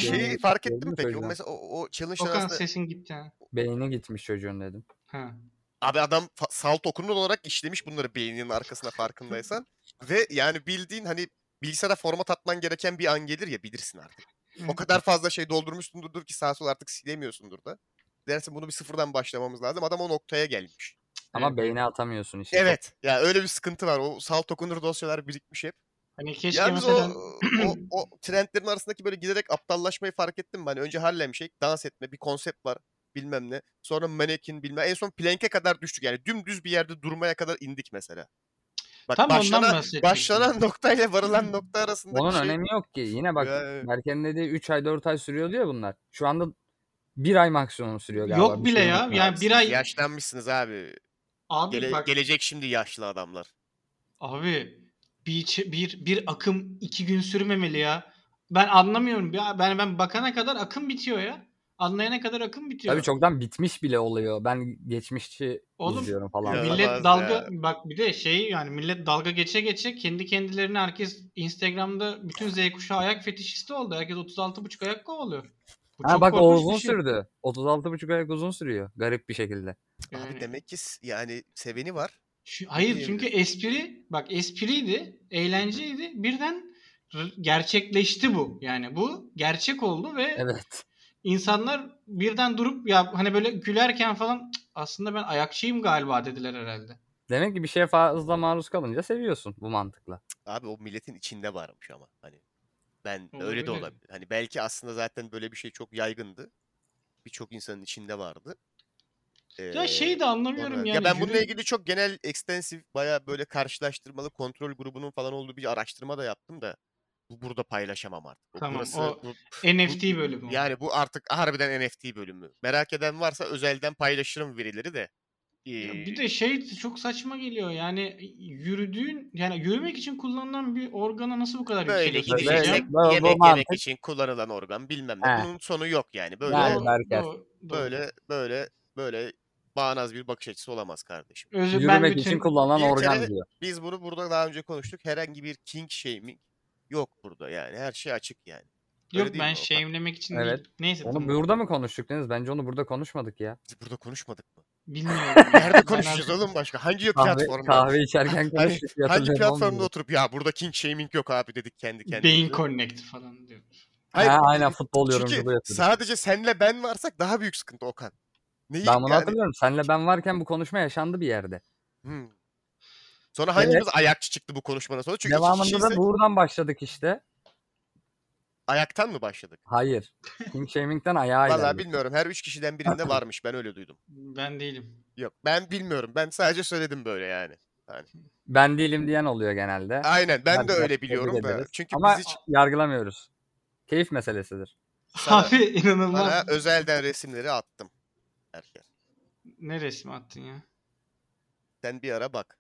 şey- şey. Şeyi Yani fark gördün ettin mi peki? mü O çocuğu? mesela o, o challenge'lar Okan arasında- sesin gitti. ha. Beyni gitmiş çocuğun dedim. Ha. Abi adam fa- salt okunur olarak işlemiş bunları beyninin arkasına farkındaysan. Ve yani bildiğin hani bilgisayara format atman gereken bir an gelir ya bilirsin artık. O kadar fazla şey doldurmuşsundur ki sağ sol artık silemiyorsundur da. Dersin bunu bir sıfırdan başlamamız lazım. Adam o noktaya gelmiş. Ama Evet. beyni atamıyorsun işte. Evet. Ya öyle bir sıkıntı var. O salt okunur dosyalar birikmiş hep. Hani keşke Ya biz mesela... o, (clears throat) o, o trendlerin arasındaki böyle giderek aptallaşmayı fark ettim mi? Hani önce Harlem Shake, dans etme, bir konsept var bilmem ne. Sonra mannequin bilmem En son plank'e kadar düştük. Yani dümdüz bir yerde durmaya kadar indik mesela. Bak Tam ondan başlanan, bahsedecektim. başlanan noktayla (laughs) varılan nokta arasında Onun bir şey. önemi yok ki. Yine bak Ya- Berke'nin dediği 3 ay 4 ay sürüyor diyor bunlar. Şu anda bir ay maksimum sürüyor galiba. Yok bir bile şey ya. unutma. Yani Abi bir siz ay- Yaşlanmışsınız abi. Abi Gele- bak gelecek şimdi yaşlı adamlar. Abi bir, ç- bir, bir akım iki gün sürmemeli ya. Ben anlamıyorum ya. Ben ben bakana kadar akım bitiyor ya. Anlayana kadar akım bitiyor. Tabii çoktan bitmiş bile oluyor. Ben geçmişçi Oğlum, izliyorum falan. Ya- Millet Olamaz dalga ya. bak bir de şey yani millet dalga geçe geçe kendi kendilerine herkes Instagram'da bütün Z kuşağı ayak fetişisti oldu. Herkes 36,5 ayak kovalıyor. Bu Ha bak o korkunç bir uzun şey. sürdü. 36,5 ayak uzun sürüyor. Garip bir şekilde. Yani. Abi demek ki s- yani seveni var. Şu- hayır çünkü espri bak espriydi, eğlenceydi. Birden r- gerçekleşti bu. Yani bu gerçek oldu ve Evet. İnsanlar birden durup ya hani böyle gülerken falan "Cık, aslında ben ayakçıyım galiba dediler herhalde. Demek ki bir şeye fazla maruz kalınca seviyorsun bu mantıkla. Abi o milletin içinde varmış ama hani ben öyle Olabilir. de olabilir. Hani belki aslında zaten böyle bir şey çok yaygındı. Birçok insanın içinde vardı. Ya Ee, şeyi de anlamıyorum ona- yani. Ya ben bununla jüri- ilgili çok genel extensive baya böyle karşılaştırmalı kontrol grubunun falan olduğu bir araştırma da yaptım da bu burada paylaşamam artık. Bu- Tamam, Burası o- bu- NFT bölümü. o. yani bu artık harbiden NFT bölümü. Merak eden varsa özelden paylaşırım verileri de. Ya Ee, bir de şey çok saçma geliyor yani yürüdüğün yani yürümek için kullanılan bir organa nasıl bu kadar böyle yükseliyorsun gidecek diyeceğim. yemek, Bu- bu yemek mantık- için kullanılan organ bilmem ne. He. Bunun sonu yok yani. Böyle Yani Doğru, Berker. doğru, doğru. böyle böyle böyle bağnaz bir bakış açısı olamaz kardeşim. Özür- ben Yürümek bütün için kullanılan Bir organ kere- (laughs) diyor. Biz bunu burada daha önce konuştuk. Herhangi bir king shaming yok burada yani. Her şey açık yani. Öyle değil yok mi ben Okan? shame'lemek için Evet. değil. Neyse Onu tamam. burada mı konuştuk Deniz? Bence onu burada konuşmadık ya. Biz burada konuşmadık (laughs) mı? Bilmiyorum. (laughs) Nerede Ben konuşacağız artık- oğlum başka? Hangi Kahve, platformda? kahve içerken konuştuk. diye Hangi hatırlıyorum, platformda olmuyor. oturup ya burada king shaming yok abi dedik kendi kendimize. Beyin Connect falan diyor. Hayır, e, ha, aynen futbol Çünkü yorumculuğu yapıyorduk. sadece senle ben varsak daha büyük sıkıntı Okan. Neyi Ben bunu yani- hatırlıyorum. Senle ben varken bu konuşma yaşandı bir yerde. Hmm. Sonra hangimiz ayakçı çıktı bu konuşmadan sonra? Çünkü iki Devamında kişiysek da buradan başladık işte. ayaktan mı başladık? Hayır. King Shaming'den ayağa Vallahi ilerledik. bilmiyorum. Her üç kişiden birinde varmış. Ben öyle duydum. Ben değilim. Yok ben bilmiyorum. Ben sadece söyledim böyle yani. Ben değilim diyen oluyor genelde. Aynen ben Hadi de bak, öyle tebrik biliyorum da. ederiz. Çünkü şey Ama (laughs) biz hiç yargılamıyoruz. Keyif meselesidir. Sana- Abi (laughs) inanılmaz. Bana özelden resimleri attım. Erken. Ne resmi attın ya? Sen bir ara bak.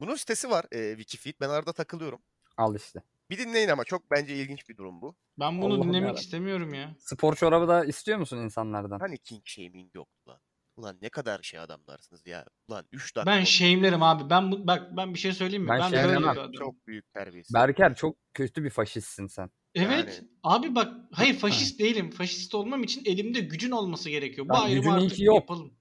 Bunun sitesi var e, Wikifeed. Ben arada takılıyorum. Al işte. Bir dinleyin ama çok bence ilginç bir durum bu. Ben bunu Allah'ım dinlemek yarabbim. istemiyorum ya. Spor çorabı da istiyor musun insanlardan? Hani king shaming yok lan. Ulan ne kadar şey adamlarsınız ya. Ulan 3 dakika. Ben oldu. shame'lerim abi. Ben bu, bak ben bir şey söyleyeyim mi? Ben Ben, böyle shame'lemem. bir Çok- adamım. Çok büyük terbiyesiz. Berker çok kötü bir faşistsin sen. Evet. Yani- Abi bak hayır faşist değilim. Faşist olmam için elimde gücün olması gerekiyor. Bu Lan ayrımı gücünün artık ki yok. yapalım.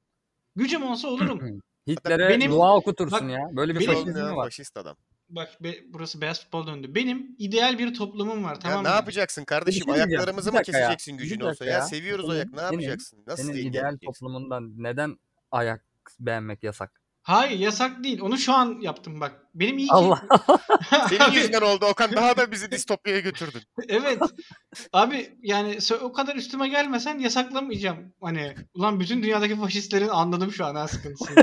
Gücüm (laughs) olsa olurum. Hitler'e Benim- dua okutursun Bak, ya. Böyle bir benim- Faşist, faşizm mi var? faşist adam. bak be- burası beyaz futbol döndü. Benim ideal bir toplumum var tamam ya mı? ne yapacaksın kardeşim? diyeceğim. Ayaklarımızı Bir mı dakika ya. keseceksin Bir gücün dakika olsa ya? ya. Senin- Senin- ayak ne senin- yapacaksın? Nasıl Senin engelleyeceksin? ideal toplumundan neden ayak beğenmek yasak? Hayır yasak değil. Onu şu an yaptım bak. Benim iyi ki- Allah. (laughs) (laughs) Senin yüzünden oldu Okan. Daha da bizi distopyaya götürdün. evet. Abi yani sö- o kadar üstüme gelmesen yasaklamayacağım. Hani ulan bütün dünyadaki faşistlerin anladım şu an ha sıkıntısını.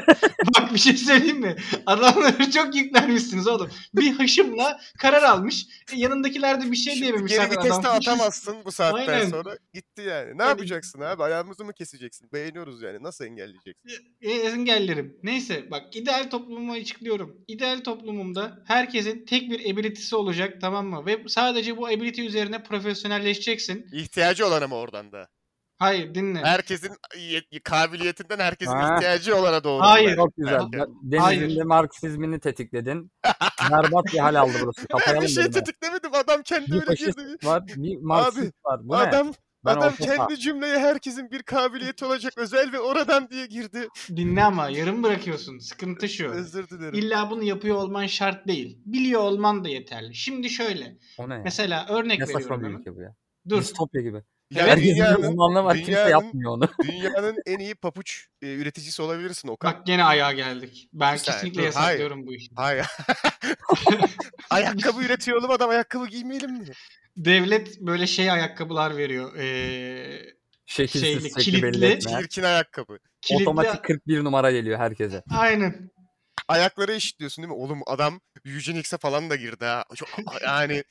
Bak bir şey söyleyeyim mi? Adamları çok yüklenmişsiniz oğlum. Bir haşımla karar almış. E, yanındakiler de bir şey Şimdi diyememiş. geri zaten viteste adam faşist. atamazsın bu saatten Aynen. sonra. Gitti yani. Ne Yani- yapacaksın abi? Ayağımızı mı keseceksin? Beğeniyoruz yani. Nasıl engelleyeceksin? E, engellerim. Neyse bak ideal toplumumu açıklıyorum. İdeal toplumumda herkesin tek bir ability'si olacak tamam mı? Ve sadece bu ability üzerine profesyonelleşeceksin. İhtiyacı olan ama oradan da. Hayır dinle. Herkesin ye- kabiliyetinden herkesin Ha. ihtiyacı olana doğru. Hayır. ben- Çok güzel. Berker. Deniz'in de Marksizmini tetikledin. Berbat bir hal aldı (laughs) burası. Ben Kapayalım bir şey dedim ben. tetiklemedim. Adam kendi Bir öyle faşist girdi. var, bir Marksist var. Bu ne? Adam Ben Adam orta sağ. kendi cümleye herkesin bir kabiliyeti olacak özel ve oradan diye girdi. Dinle ama yarım bırakıyorsun. Sıkıntı şu. Özür dilerim. İlla bunu yapıyor olman şart değil. Biliyor olman da yeterli. Şimdi şöyle. O ne ya? Mesela örnek Ne saçma veriyorum. bir hemen. ülke bu ya. Dur. Distopya gibi. Yani Evet. Herkesin bir dünyanın, uzmanlığı var. Kimse dünyanın- yapmıyor onu. (laughs) dünyanın en iyi papuç e, üreticisi olabilirsin Okan. Bak gene ayağa geldik. Ben Bir saniye, kesinlikle dur, yasaklıyorum bu işi. (laughs) Hayır. ayakkabı üretiyor oğlum adam ayakkabı giymeyelim mi? Devlet böyle şey ayakkabılar veriyor. Ee, Şekilsiz şekli kilitli, belli etme. Çirkin ayakkabı. kilitli... Otomatik 41 numara geliyor herkese. Aynen. Ayakları eşitliyorsun değil mi? Oğlum adam Eugenics'e falan da girdi ha. Çok, yani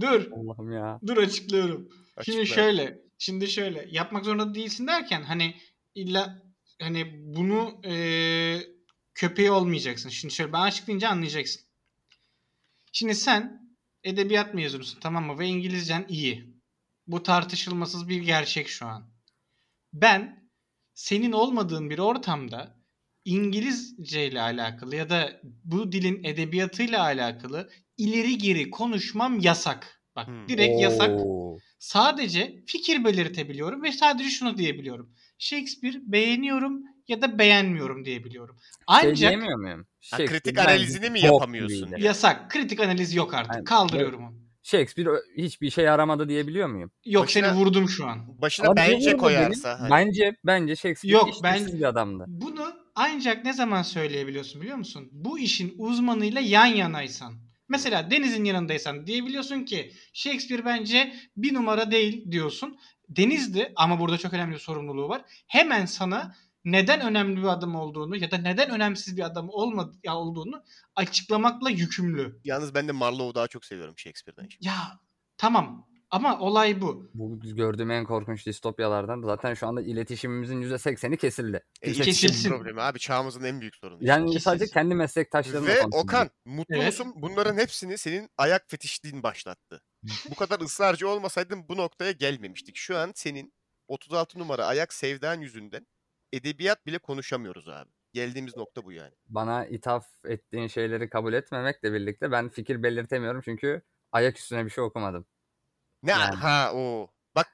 Dur. Allah'ım ya. Dur açıklıyorum. Şimdi Açıkla. şöyle. Şimdi şöyle. Yapmak zorunda değilsin derken hani illa hani bunu eee köpeği olmayacaksın. Şimdi şöyle ben açıklayınca anlayacaksın. Şimdi sen edebiyat mezunusun tamam mı? Ve İngilizcen iyi. Bu tartışılmasız bir gerçek şu an. Ben senin olmadığın bir ortamda İngilizce ile alakalı ya da bu dilin edebiyatıyla alakalı ileri geri konuşmam yasak. Bak Hmm. direkt yasak. Oo. Şey Sadece fikir belirtebiliyorum ve sadece şunu diyebiliyorum. Shakespeare beğeniyorum ya da beğenmiyorum diyebiliyorum. Şey Ancak diyemiyor muyum? Ha, Shakespeare kritik bence analizini mi bok yapamıyorsun? gibiydi. yasak. Kritik analiz yok artık. Aynen. Kaldırıyorum onu. Shakespeare ö- hiçbir işe yaramadı diyebiliyor muyum? Yok Başına- seni vurdum şu an. Başına Ama bence diyebilirim de koyarsa. hani. benim- Bence bence Shakespeare Yok, Yok, ben- bir adamdı. Bunu ancak ne zaman söyleyebiliyorsun biliyor musun? Bu işin uzmanıyla yan yanaysan. Mesela Deniz'in yanındaysan diyebiliyorsun ki Shakespeare bence bir numara değil diyorsun. Deniz de ama burada çok önemli bir sorumluluğu var. Hemen sana neden önemli bir adam olduğunu ya da neden önemsiz bir adam olmadı ya olduğunu açıklamakla yükümlü. Yalnız ben de Marlowe'u daha çok seviyorum Shakespeare'den. Ya tamam ama olay bu. Bu gördüğüm en korkunç distopyalardan. Zaten şu anda iletişimimizin %80'i kesildi. E, Kesin. iletişim problemi abi çağımızın en büyük sorunu. Yani Kesildi. sadece kendi meslektaşlarımla Ve konuşuyorum. Okan mutlu Evet. musun? Bunların hepsini senin ayak fetişliğin başlattı. Bu kadar ısrarcı olmasaydın bu noktaya gelmemiştik. Şu an senin 36 numara ayak sevdan yüzünden edebiyat bile konuşamıyoruz abi. Geldiğimiz nokta bu yani. Bana ithaf ettiğin şeyleri kabul etmemekle birlikte ben fikir belirtemiyorum çünkü ayak üstüne bir şey okumadım. Ne Yani. ha o. Bak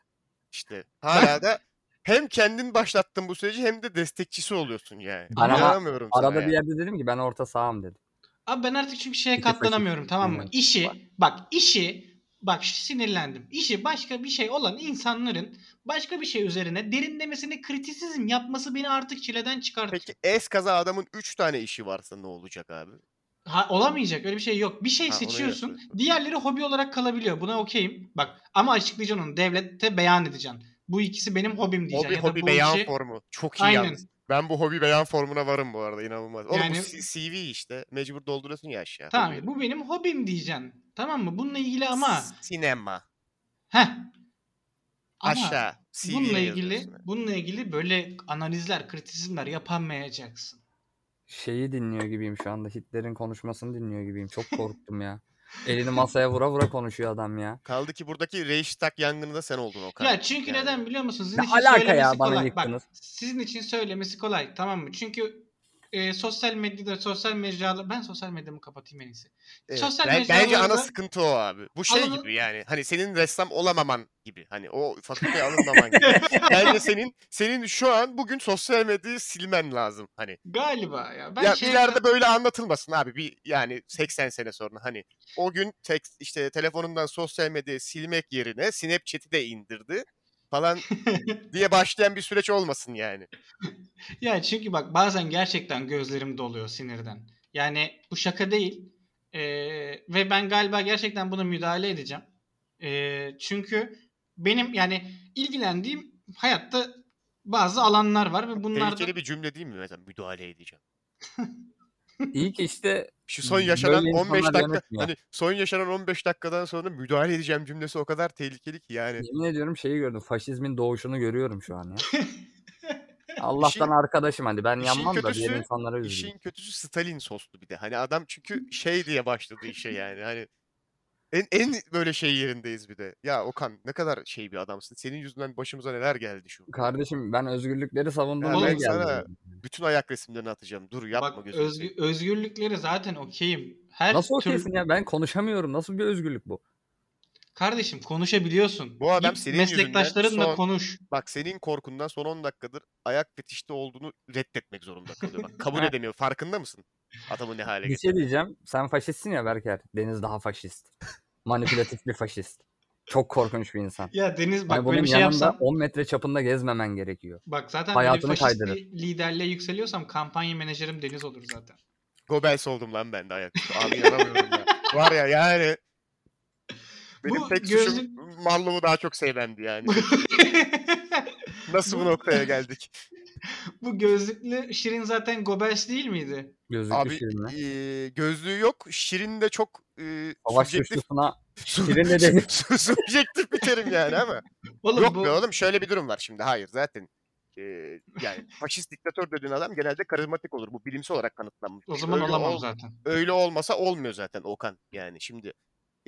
işte hala da hem kendin başlattın bu süreci hem de destekçisi oluyorsun yani. Ben ama İnanamıyorum sana Arada ya. bir yerde dedim ki ben orta sağım dedim. Abi ben artık çünkü şeye Bir tek katlanamıyorum faşist tamam mı? bilmem. İşi Var. bak işi bak ş- sinirlendim. İşi başka bir şey olan insanların başka bir şey üzerine derinlemesine kritisizm yapması beni artık çileden çıkartıyor. Peki es kaza adamın 3 tane işi varsa ne olacak abi? Ha, olamayacak öyle bir şey yok. Bir şey Ha, onu seçiyorsun. yapıyorsun. Diğerleri hobi olarak kalabiliyor. Buna okeyim. Bak ama açıklayacaksın onu. Devlete beyan edeceksin. Bu ikisi benim hobim diyeceksin. Hobi ya da hobi bu beyan işi- formu. Çok iyi Aynen. yalnız. Ben bu hobi beyan formuna varım bu arada inanılmaz. Oğlum Yani- bu C- CV işte. Mecbur dolduruyorsun ya aşağı. Tamam hobiyi. bu benim hobim diyeceksin. Tamam mı? Bununla ilgili ama Sinema. Heh. Ama Aşağı. CV'ye bununla ilgili yazıyorsun yani. bununla ilgili böyle analizler, kritizmler yapamayacaksın. Şeyi dinliyor gibiyim şu anda. Hitler'in konuşmasını dinliyor gibiyim. Çok korktum ya. Elini masaya vura vura konuşuyor adam ya. Kaldı ki buradaki Reichstag yangınında sen oldun Okan. Ya çünkü Yani. neden biliyor musunuz? Sizin Ne için alaka ya, söylemesi bana kolay. yıktınız. Bak, sizin için söylemesi kolay tamam mı? Çünkü e, sosyal medyada, sosyal mecralar... Ben sosyal medyamı kapatayım en iyisi. Evet, Sosyal ben- bence ana mecralarda- sıkıntı o abi. Bu şey Alanı- gibi yani hani senin ressam olamaman gibi. Hani o fakülteye alınmaman gibi. (laughs) Bence senin senin şu an bugün sosyal medyayı silmen lazım hani. Galiba ya. Ben ya şey- ileride böyle anlatılmasın abi bir yani 80 sene sonra hani o gün tek işte telefonundan sosyal medyayı silmek yerine Snapchat'i de indirdi falan diye başlayan bir süreç olmasın yani. Ya çünkü bak bazen gerçekten gözlerim doluyor sinirden. Yani bu şaka değil. Ee, ve ben galiba gerçekten buna müdahale edeceğim. Ee, çünkü benim yani ilgilendiğim hayatta bazı alanlar var ve bunlar Tehlikeli bir cümle değil mi mesela müdahale edeceğim. İyi ki işte Şu son Böyle yaşanan insanlar 15 dakika yönetmiyor. hani son yaşanan 15 dakikadan sonra müdahale edeceğim cümlesi o kadar tehlikeli ki yani. yemin ediyorum şeyi gördüm. Faşizmin doğuşunu görüyorum şu an (laughs) ya. Allah'tan arkadaşım hani ben işin yanmam da diğer kötüsü- insanlara üzülürüm. İşin kötüsü Stalin soslu bir de. Hani adam (laughs) çünkü şey diye başladı işe yani. Hani en, en böyle şey yerindeyiz bir de. Ya Okan ne kadar şey bir adamsın. Senin yüzünden başımıza neler geldi şu. Kardeşim ben özgürlükleri savunduğum Ya diye ben geldim. sana- Bütün ayak resimlerini atacağım. Dur şey yapma bak gözünü özgü- seveyim. özgürlükleri zaten okeyim. Her Nasıl tür- okeysin ya? Ben konuşamıyorum. Nasıl bir özgürlük bu? Kardeşim konuşabiliyorsun. Bu adam Git senin yüzünden meslektaşlarınla son- konuş. Bak senin korkundan son 10 dakikadır ayak fetişte olduğunu reddetmek zorunda kalıyor. Bak (laughs) kabul edemiyor. Farkında mısın? Adamı ne hale Bir getirdi. şey diyeceğim. Sen faşistsin ya Berker. Deniz daha faşist. Manipülatif bir faşist. Çok korkunç bir insan. Ya Deniz bak Hani böyle bunun bir şey yanında yapsan 10 metre çapında gezmemen gerekiyor. bak zaten hayatını böyle faşist kaydırır. bir liderliğe yükseliyorsam kampanya menajerim Deniz olur zaten. (laughs) Goebbels oldum lan ben de ayak. (laughs) Abi yaramıyorum ya. Var ya yani. Benim Bu tek gözlük- suçum Marlon'u daha çok sevmendi (laughs) yani. Nasıl bu Bu- noktaya geldik? Bu gözlüklü Şirin zaten Goebbels değil miydi? Gözlüklü Abi şirinle. eee, gözlüğü yok. Şirin de çok eee Savaş subjektif, suçlusuna (laughs) (laughs) su- Şirin de dedi. su- subjektif bir terim yani ama. (laughs) Oğlum yok bu be oğlum şöyle bir durum var şimdi. Hayır zaten eee, yani faşist diktatör dediğin adam genelde karizmatik olur. Bu bilimsel olarak kanıtlanmış. bir o şey. zaman Öyle olamam ol- zaten. öyle olmasa olmuyor zaten Okan. Yani şimdi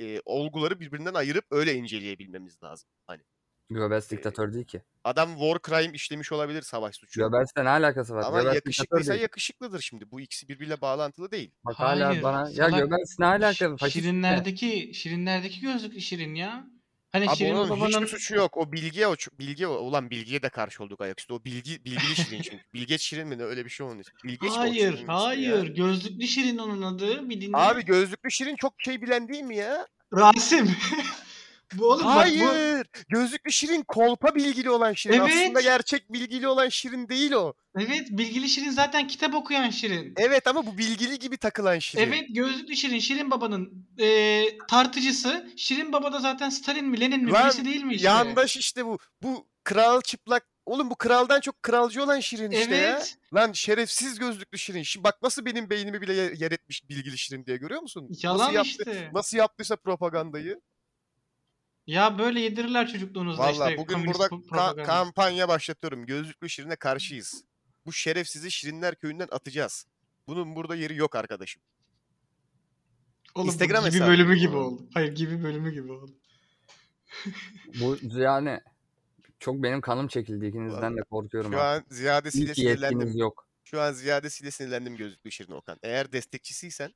e, olguları birbirinden ayırıp öyle inceleyebilmemiz lazım. Hani Göbels diktatör değil ki. adam war crime işlemiş olabilir savaş suçu. Göbels'le ne alakası var? Ama Göbels diktatör yakışıklıysa değil. yakışıklıdır şimdi. Bu ikisi birbiriyle bağlantılı değil. Bak Hayır, hala bana ya salak. Göbels ne alakası? Ş- Faşist ne? Şirinlerdeki Şirinlerdeki gözlüklü Şirin ya. Hani Abi Şirin onun babanın hiçbir suçu yok. O bilgiye o ç- bilgi o- ulan bilgiye de karşı olduk ayaküstü. O bilgi bilgili şirin (laughs) çünkü. Bilgeç şirin mi ne öyle bir şey onun için. Bilgeç mi o şirinin Hayır, ismi ya? hayır. Gözlüklü Şirin onun adı. Bir dinle. Abi gözlüklü şirin çok şey bilen değil mi ya? Rasim. (laughs) bu oğlum bak bu. Hayır. Gözlüklü şirin kolpa bilgili olan şirin. Evet. Aslında gerçek bilgili olan şirin değil o. Evet, bilgili Şirin zaten kitap okuyan Şirin. Evet ama bu bilgili gibi takılan şirin. Evet gözlüklü Şirin, Şirin Baba'nın eee, tartıcısı. Şirin Baba da zaten Stalin mi Lenin mi Lan, birisi değil mi işte? Yandaş işte bu. Bu kral çıplak. Oğlum bu kraldan çok kralcı olan şirin işte ya. Evet. Lan şerefsiz gözlüklü şirin. Şimdi bak nasıl benim beynimi bile yer yer etmiş bilgili şirin diye görüyor musun? Yalan nasıl yaptı, işte. Nasıl yaptıysa propagandayı. Ya böyle yedirirler çocukluğunuzda Valla işte. bugün komünist burada pro- ka- propaganda. kampanya başlatıyorum. Gözlüklü şirine karşıyız. Bu şerefsizi şirinler köyünden atacağız. Bunun burada yeri yok arkadaşım. Oğlum bu Instagram gibi hesabı. bölümü gibi oldu. Hayır gibi bölümü gibi oldu. Bu yani çok benim kanım çekildi ikinizden de korkuyorum. Şu artık. an ziyadesiyle İyi ki yetkiniz sinirlendim. yok. Şu an ziyadesiyle sinirlendim gözlüklü şirin Okan. Eğer destekçisiysen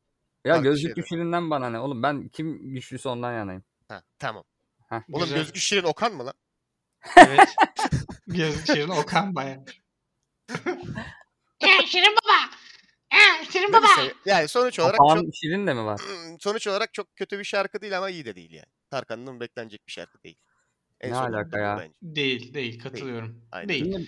Ya Farklı gözlüklü şeyler. şirinden bana ne oğlum ben kim güçlüyse ondan yanayım. ha, tamam. Heh. Oğlum Güzel. gözlüklü şirin Okan mı lan? (laughs) Evet. Gözlük Şirin Okan Baya. Ya Şirin Baba. Ya Şirin Baba. Neyse, şey? yani sonuç olarak çok Papağan şirin de mi var? sonuç olarak çok kötü bir şarkı değil ama iyi de değil yani. Tarkan'ın beklenecek bir şarkı değil. Ne sonunda alaka bu ya? bence. Değil değil katılıyorum. Aynen. Değil. Şimdi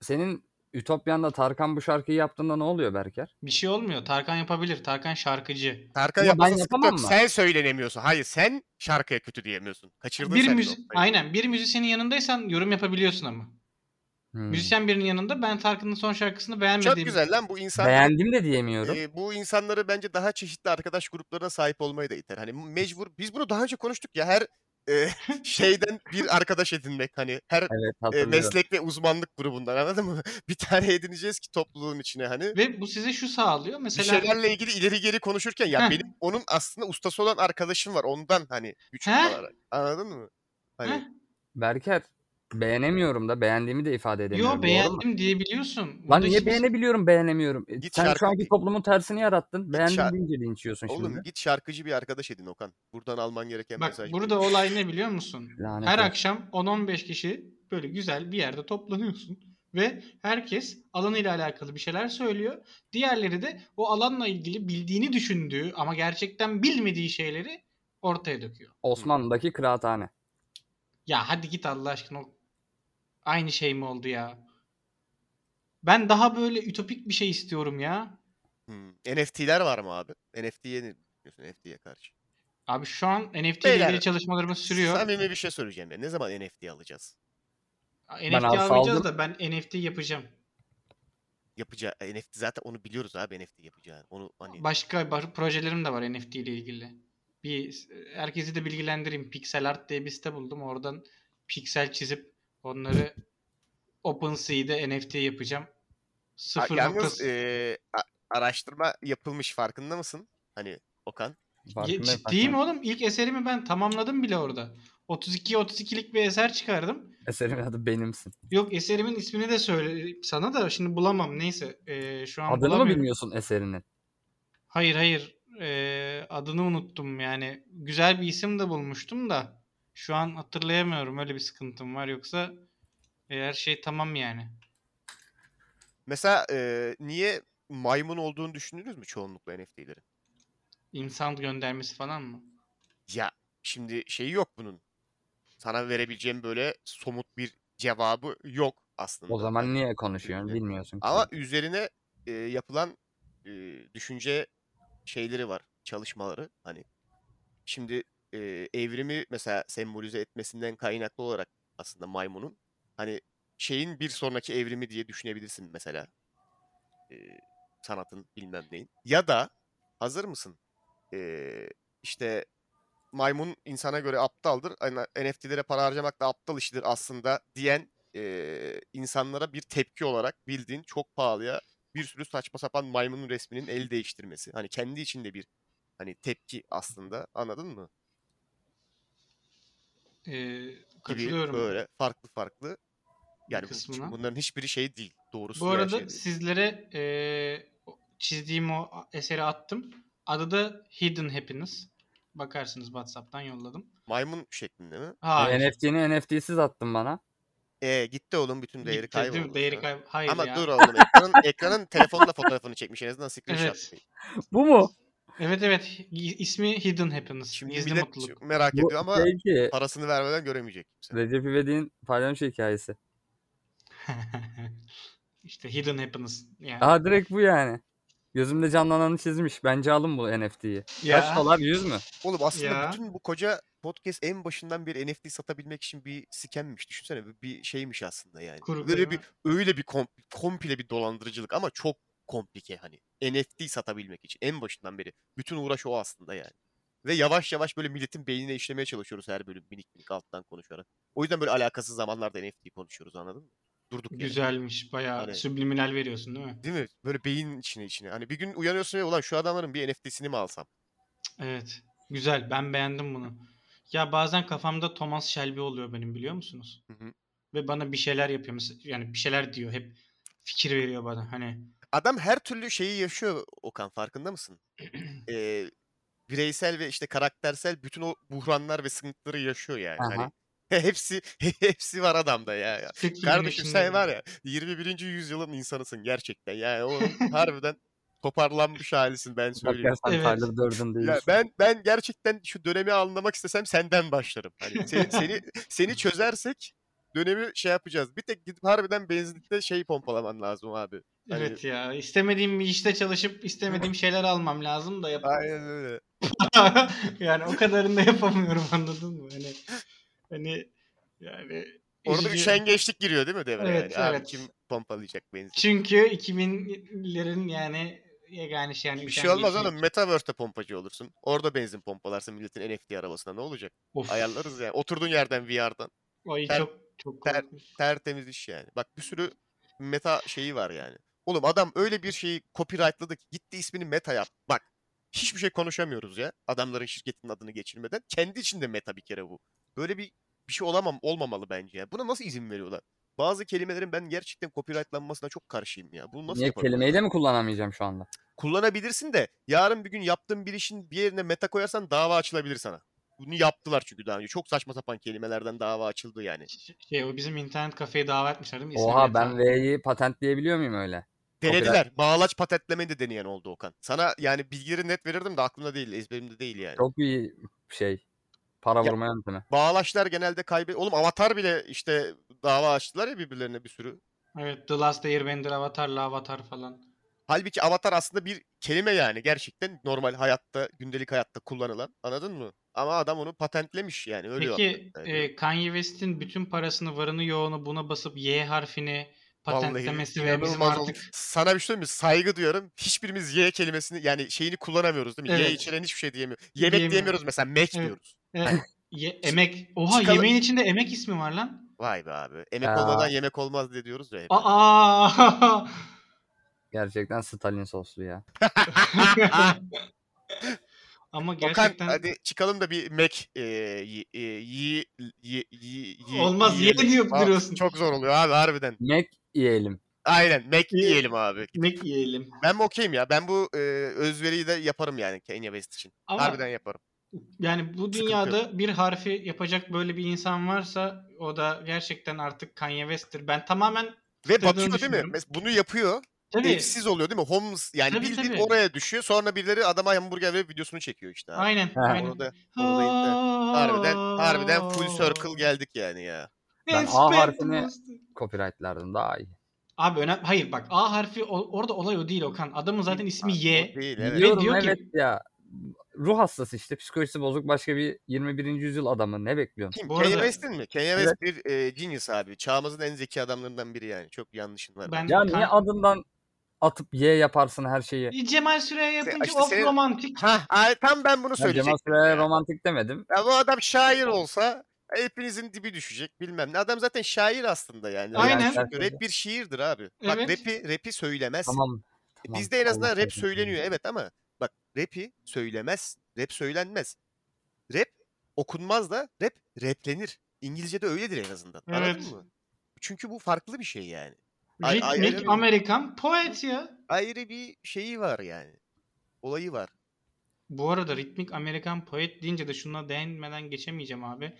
senin Ütopya'nda Tarkan bu şarkıyı yaptığında ne oluyor Berker? Bir şey olmuyor. Tarkan yapabilir. Tarkan şarkıcı. Tarkan Ama ben yapmasa sıkıntı yok. yapamam mı? Sen söylenemiyorsun. Hayır sen şarkıya kötü diyemiyorsun. Kaçırdın bir sen müzi noktayı. aynen bir müzisyenin yanındaysan yorum yapabiliyorsun ama. Hmm. Müzisyen birinin yanında ben Tarkan'ın son şarkısını Çok beğenmediğim. güzel lan bu insan. Beğendim de diyemiyorum. e, bu insanları bence daha çeşitli arkadaş gruplarına sahip olmayı da iter. Hani mecbur biz bunu daha önce konuştuk ya her e, (laughs) şeyden bir arkadaş edinmek hani her Evet e, hatırlıyorum. meslek ve uzmanlık grubundan anladın mı? (laughs) Bir tane edineceğiz ki topluluğun içine hani Ve bu size şu sağlıyor. bir Mesela şeylerle ilgili ileri geri konuşurken ya Heh. benim onun aslında ustası olan arkadaşım var ondan hani güç Heh. olarak anladın mı? Hani Heh. Berker beğenemiyorum da beğendiğimi de ifade edemiyorum. yo Doğru mu? beğendim diyebiliyorsun. Lan Burada niye hiçbir- beğenebiliyorum beğenemiyorum? E, Git Sen şarkı şu anki giy. toplumun tersini yarattın. Beğendim şarkı- deyince linç yiyorsun şimdi. oğlum git şarkıcı bir arkadaş edin Okan. Buradan alman gereken Bak mesaj. bu. burada olay ne biliyor musun? (laughs) Lanet Her olsun. akşam 10-15 kişi böyle güzel bir yerde toplanıyorsun ve herkes alanıyla alakalı bir şeyler söylüyor. Diğerleri de o alanla ilgili bildiğini düşündüğü ama gerçekten bilmediği şeyleri ortaya döküyor. Osmanlı'daki kıraathane. Ya hadi git Allah aşkına. o- Aynı şey mi oldu ya? Ben daha böyle ütopik bir şey istiyorum ya. Hmm. NFT'ler var mı abi? NFT'ye ne diyorsun NFT'ye karşı? Abi şu an NFT ile Beyler, ilgili çalışmalarımız sürüyor. Samimi bir şey söyleyeceğim ya. Ne zaman NFT alacağız? NFT alfa almayacağız aldım. da ben NFT yapacağım. Yapacağı e, NFT zaten onu biliyoruz abi NFT yapacağını. Onu hani Başka ba- projelerim de var NFT ile ilgili. Bir herkesi de bilgilendireyim. Pixel Art diye bir site buldum. Oradan piksel çizip onları OpenSea'de NFT yapacağım. A- Sıfır yalnız noktası. e, a- araştırma yapılmış farkında mısın? Hani Okan. Farkındayım, Ciddiyim farkındayım. oğlum. İlk eserimi ben tamamladım bile orada. 32 32'lik bir eser çıkardım. Eserimin adı benimsin. Yok eserimin ismini de söyle sana da şimdi bulamam. Neyse Ee, şu an Adını mı bulamıyorum. bilmiyorsun eserinin? Hayır hayır. Ee, adını unuttum yani. Güzel bir isim de bulmuştum da şu an hatırlayamıyorum. Öyle bir sıkıntım var yoksa e, her şey tamam yani. Mesela e, niye maymun olduğunu düşünürüz mü çoğunlukla NFT'lerin? İnsan göndermesi falan mı? Ya şimdi şeyi yok bunun. Sana verebileceğim böyle somut bir cevabı yok aslında. O zaman Hani- niye konuşuyorsun bilmiyorsun. ki. Ama üzerine e, yapılan e, düşünce şeyleri var, çalışmaları. Hani şimdi e, evrimi mesela sembolize etmesinden kaynaklı olarak aslında maymunun hani şeyin bir sonraki evrimi diye düşünebilirsin mesela. E, sanatın bilmem neyin. Ya da hazır mısın? E, işte maymun insana göre aptaldır. Ana- NFT'lere para harcamak da aptal işidir aslında diyen eee, insanlara bir tepki olarak bildiğin çok pahalıya bir sürü saçma sapan maymunun resminin el değiştirmesi. Hani kendi içinde bir hani tepki aslında anladın mı? Ee, Gibi katılıyorum. böyle farklı farklı. Bir Yani bu- kısmına. çünkü bunların hiçbiri şey değil. Doğrusu Bu veya arada şey değil. sizlere e, o- çizdiğim o a- eseri attım. Adı da Hidden Happiness. Bakarsınız WhatsApp'tan yolladım. maymun şeklinde mi? Hayır. NFT'ni NFT'siz attın bana. (laughs) E gitti oğlum bütün değeri gitti, değil mi? kayboldu. Değeri Ha. kayb- Hayır Ama ya. dur oğlum (laughs) ekranın, ekranın telefonla fotoğrafını çekmiş en azından screenshot. Evet. değil. Bu mu? Evet evet. İ- ismi Hidden Happiness. Şimdi Gizli millet mutluluk. merak Bu ediyor ama şey (laughs) ki, parasını vermeden göremeyecek kimse. Recep İvedik'in paylaşmış hikayesi. (laughs) işte Hidden Happiness. Yani. Aa direkt bu yani. Gözümde canlananı çizmiş. Bence alın bu NFT'yi. Kaç dolar 100 mü? Oğlum aslında Ya. bütün bu koca podcast en başından beri NFT satabilmek için bir scammiş. Düşünsene bir- bir şeymiş aslında yani. Kuru Böyle kıyma. bir öyle bir kom- komple bir dolandırıcılık ama çok komplike hani. NFT satabilmek için en başından beri. Bütün uğraş o aslında yani. Ve yavaş yavaş böyle milletin beynine işlemeye çalışıyoruz her bölüm minik minik alttan konuşarak. O yüzden böyle alakasız zamanlarda NFT konuşuyoruz anladın mı? Durduk yere. Güzelmiş. Bayağı Hani- subliminal veriyorsun değil mi? Değil mi? Böyle beyin içine içine. Hani bir gün uyanıyorsun ve ulan şu adamların bir NFT'sini mi alsam? Evet. Güzel. Ben beğendim bunu. Ya bazen kafamda Thomas Shelby oluyor benim biliyor musunuz? Hı hı. Ve bana bir şeyler yapıyor. Mesela, yani bir şeyler diyor. Hep fikir veriyor bana. Hani Adam her türlü şeyi yaşıyor Okan farkında mısın? (clears throat) Ee, bireysel ve işte karaktersel bütün o buhranlar ve sıkıntıları yaşıyor yani. Hani Aha. (laughs) hepsi hepsi var adamda ya. tek filmin Kardeşim sen içinde- var ya 21. yüzyılın insanısın gerçekten. Yani (laughs) o harbiden toparlanmış halisin ben Bak söyleyeyim. ya sen Evet. Tyler Durden Ya değilsin. ben ben gerçekten şu dönemi anlamak istesem senden başlarım. Hani (laughs) seni seni, seni çözersek dönemi şey yapacağız. Bir tek gidip harbiden benzinlikte şey pompalaman lazım abi. Hani- Evet ya. İstemediğim bir işte çalışıp istemediğim şeyler almam lazım da yap. Aynen öyle. (laughs) yani o kadarını da yapamıyorum anladın mı? Hani hani yani Orada üzücü. üşengeçlik giriyor değil mi devreye? Evet, yani? Abi evet. kim pompalayacak benzin? Çünkü 2000'lerin yani yegane şey yani Bir üşengeç şey olmaz değil. oğlum. Metaverse'te pompacı olursun. Orada benzin pompalarsın milletin NFT arabasına. Ne olacak? Of. Ayarlarız ya. Oturduğun yerden VR'dan. Ay ter- çok çok ter- korkunç. Tertemiz iş yani. Bak bir sürü meta şeyi var yani. Oğlum adam öyle bir şeyi copyrightladı ki gitti ismini meta yaptı. Bak hiçbir şey konuşamıyoruz ya. Adamların şirketinin adını geçirmeden. Kendi içinde meta bir kere bu. Böyle bir bir şey olamam olmamalı bence ya. Buna nasıl izin veriyorlar? Bazı kelimelerin ben gerçekten copyrightlanmasına çok karşıyım ya. Bunu nasıl Niye yapabilirler? kelimeyi de mi kullanamayacağım şu anda? kullanabilirsin de yarın bir gün yaptığın bir işin bir yerine meta koyarsan dava açılabilir sana. Bunu yaptılar çünkü daha önce. Çok saçma sapan kelimelerden dava açıldı yani. Ş- Şey o bizim internet kafeye davet etmişler değil mi? İsmi Oha Meta. ben V'yi patentleyebiliyor muyum öyle? Denediler. Bağlaç patentlemeyi de deneyen oldu Okan. Sana yani bilgileri net verirdim de aklımda değil, ezberimde değil yani. Çok iyi şey. Para Ya- vurma yöntemi. Bağlaçlar genelde kaybet... Oğlum Avatar bile işte dava açtılar ya birbirlerine bir sürü. Evet The Last Airbender Avatar'la Avatar falan. Halbuki Avatar aslında bir kelime yani gerçekten normal hayatta, gündelik hayatta kullanılan. Anladın mı? Ama adam onu patentlemiş yani. Öyle Peki yaptı. e, Kanye West'in bütün parasını varını yoğunu buna basıp Y harfini Vallahi patentlemesi ve bizim inanılmaz oldu. artık Sana bir şey söyleyeyim mi? Saygı duyuyorum. Hiçbirimiz Y kelimesini yani şeyini kullanamıyoruz değil mi? Y Evet. içeren hiçbir şey diyemiyoruz. Yemek Diyemiyoruz. diyemiyoruz mesela. Mac Evet. diyoruz. (laughs) e, ye- emek. Oha çıkalım. yemeğin içinde emek ismi var lan. Vay be abi. Emek Ya. olmadan yemek olmaz diye diyoruz ya. hep. (laughs) Aa. (laughs) Gerçekten Stalin soslu ya. Ama Okan, gerçekten hadi çıkalım da bir Mac e, y, e, y, y, y, y- Olmaz, yiyelim. Y diyor Aa, duruyorsun. Çok zor oluyor abi harbiden. Mac yiyelim. Aynen Mac Y- diyelim abi. yemek yiyelim. Ben bu okeyim ya. Ben bu e, özveriyi de yaparım yani Kanye West için. Ama Harbiden yaparım. yani bu Sıkıntı dünyada bir harfi yapacak böyle bir insan varsa o da gerçekten artık Kanye West'tir. Ben tamamen Ve Tabii, batıyor değil mi? düşünüyorum. Mes- Bunu yapıyor. tabii Evsiz oluyor değil mi? Homeless yani Tabii, bildiğin tabii. oraya düşüyor. Sonra birileri adama hamburger verip videosunu çekiyor işte. Abi. aynen Ha, aynen. Onu da onu da internet- harbiden harbiden full circle geldi. geldik yani ya. Ben A harfini- Copyrightlardan daha iyi. Abi önemli. Hayır bak A harfi o- orada olay o değil Okan. Adamın zaten ismi Abi, Y. o Değil evet. Yok. Biliyorum diyor ki- evet ya. Ruh hastası işte. Psikolojisi bozuk başka bir 21. yüzyıl adamı. Ne bekliyorsun? Kim? Bu Kanye arada- West'in mi? Kanye West bir e, genius abi. Çağımızın en zeki adamlarından biri yani. Çok yanlışın var. Ben Ya Kan- niye adından atıp Y yaparsın her şeyi? Cemal Süreya yapınca işte of senin- romantik. Ha, ay, tam ben bunu Ya Cemal söyleyecektim. Süreya'ya ya. romantik demedim. Ya bu adam şair olsa hepinizin dibi düşecek bilmem ne. Adam zaten şair aslında yani. Rap Aynen. çünkü Rap bir şiirdir abi. Bak Evet. rapi, rapi söylemezsin. Tamam. E, tamam. Bizde en azından Allah rap kahretsin. söyleniyor evet ama bak rapi söylemez, rap söylenmez. Rap okunmaz da rap replenir. İngilizce'de öyledir en azından. Evet. Anladın mı? Çünkü bu farklı bir şey yani. Ay- ay- Ritmik ay- Amerikan poet ya. Ayrı bir şeyi var yani. Olayı var. Bu arada ritmik Amerikan poet deyince de şuna değinmeden geçemeyeceğim abi.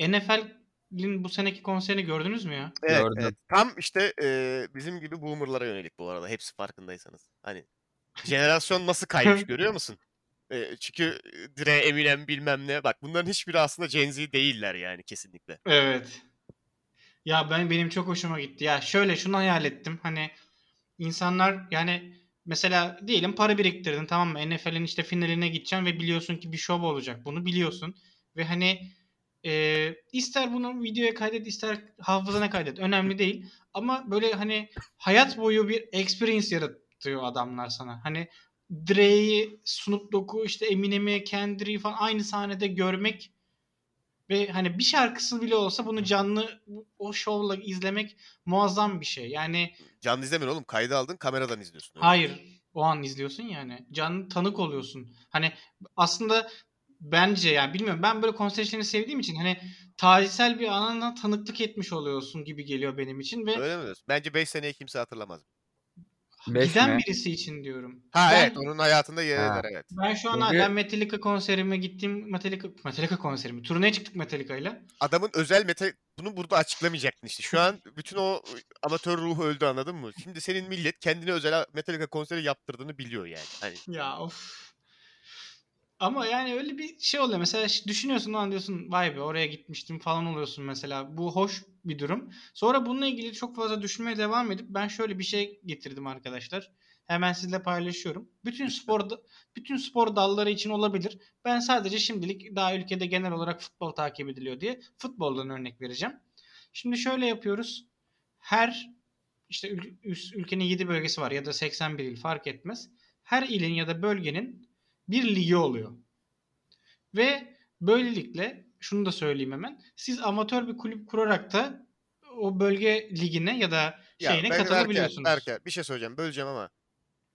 NFL'in bu seneki konserini gördünüz mü ya? Evet, Gördüm. evet. Tam işte e, bizim gibi boomerlara yönelik bu arada. Hepsi farkındaysanız. Hani jenerasyon nasıl (laughs) kaymış görüyor musun? E, çünkü e, Dre, Eminem bilmem ne. Bak bunların hiçbiri aslında Gen Z değiller yani kesinlikle. Evet. Ya ben benim çok hoşuma gitti. Ya şöyle şunu hayal ettim. Hani insanlar yani mesela diyelim para biriktirdin tamam mı? NFL'in işte finaline gideceksin ve biliyorsun ki bir şov olacak. Bunu biliyorsun. Ve hani e, ister bunu videoya kaydet ister hafızana kaydet. Önemli değil. Ama böyle hani hayat boyu bir experience yaratıyor adamlar sana. Hani Dre'yi, Snoop Dogg'u, işte Eminem'i, Kendrick'i falan aynı sahnede görmek ve hani bir şarkısı bile olsa bunu canlı bu- o şovla izlemek muazzam bir şey. Yani Canlı izlemiyorsun oğlum. Kaydı aldın kameradan izliyorsun. öyle. hayır o an izliyorsun yani. Canlı tanık oluyorsun. Hani aslında bence yani bilmiyorum ben böyle konser işlerini sevdiğim için hani tarihsel bir anına tanıklık etmiş oluyorsun gibi geliyor benim için ve Öyle mi diyorsun? Bence 5 seneye kimse hatırlamaz. Beş giden mi? birisi için diyorum. Ha Ben- evet onun hayatında yer Ha. eder evet. Ben şu an Çünkü- hala Metallica konserime gittim. Metallica, Metallica konserimi. Turneye çıktık Metallica'yla. Adamın özel meta bunu burada açıklamayacaktın işte. Şu an bütün o amatör ruhu öldü anladın mı? Şimdi senin millet kendine özel Metallica konseri yaptırdığını biliyor yani. Hani Ya of. Ama yani öyle bir şey oluyor. Mesela ş- düşünüyorsun lan diyorsun vay be oraya gitmiştim falan oluyorsun mesela. Bu hoş bir durum. Sonra bununla ilgili çok fazla düşünmeye devam edip ben şöyle bir şey getirdim arkadaşlar. Hemen sizle paylaşıyorum. Bütün spor da- bütün spor dalları için olabilir. Ben sadece şimdilik daha ülkede genel olarak futbol takip ediliyor diye futboldan örnek vereceğim. Şimdi şöyle yapıyoruz. Her işte ül- üs- ülkenin 7 bölgesi var ya da 81 il fark etmez her ilin ya da bölgenin bir ligi oluyor. Ve böylelikle şunu da söyleyeyim hemen. Siz amatör bir kulüp kurarak da o bölge ligine ya da Ya şeyine ben- katılabiliyorsunuz. Berker, Berker, bir şey söyleyeceğim. Böleceğim ama.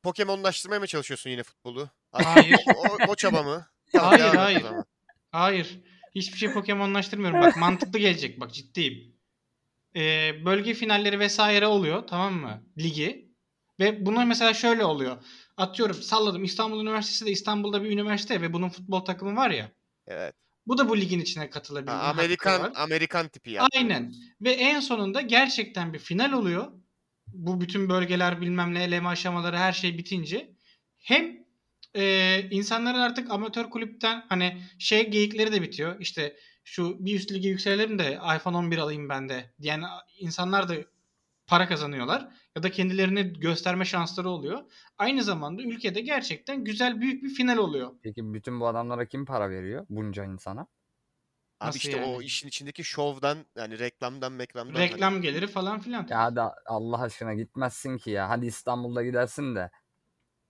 Pokemonlaştırmaya mı çalışıyorsun yine futbolu? Hayır. O, o çaba (laughs) mı? Tamam, Hayır, devam et o hayır. zaman. Hayır. Hiçbir şey Pokemon'laştırmıyorum. Bak mantıklı gelecek. Bak ciddiyim. Ee, bölge finalleri vesaire oluyor. Tamam mı? Ligi. Ve buna mesela şöyle oluyor. Atıyorum salladım. İstanbul Üniversitesi de İstanbul'da bir üniversite ve bunun futbol takımı var ya. Evet. Bu da bu ligin içine Ha, katılabilir. Amerikan Amerikan tipi ya. Aynen. Ve en sonunda gerçekten bir final oluyor. Bu bütün bölgeler bilmem ne eleme aşamaları her şey bitince. Hem e, insanların artık amatör kulüpten hani şey geyikleri de bitiyor. İşte şu bir üst lige yükselelim de iPhone 11 alayım ben de. Yani insanlar da para kazanıyorlar ya da kendilerini gösterme şansları oluyor. Aynı zamanda ülkede gerçekten güzel büyük bir final oluyor. Peki bütün bu adamlara kim para veriyor? Bunca insana. Abi Nasıl işte yani? o işin içindeki şovdan yani reklamdan meklamdan. hani- Reklam geliri falan filan. Ya hadi Allah aşkına gitmezsin ki ya. Hadi İstanbul'da gidersin de.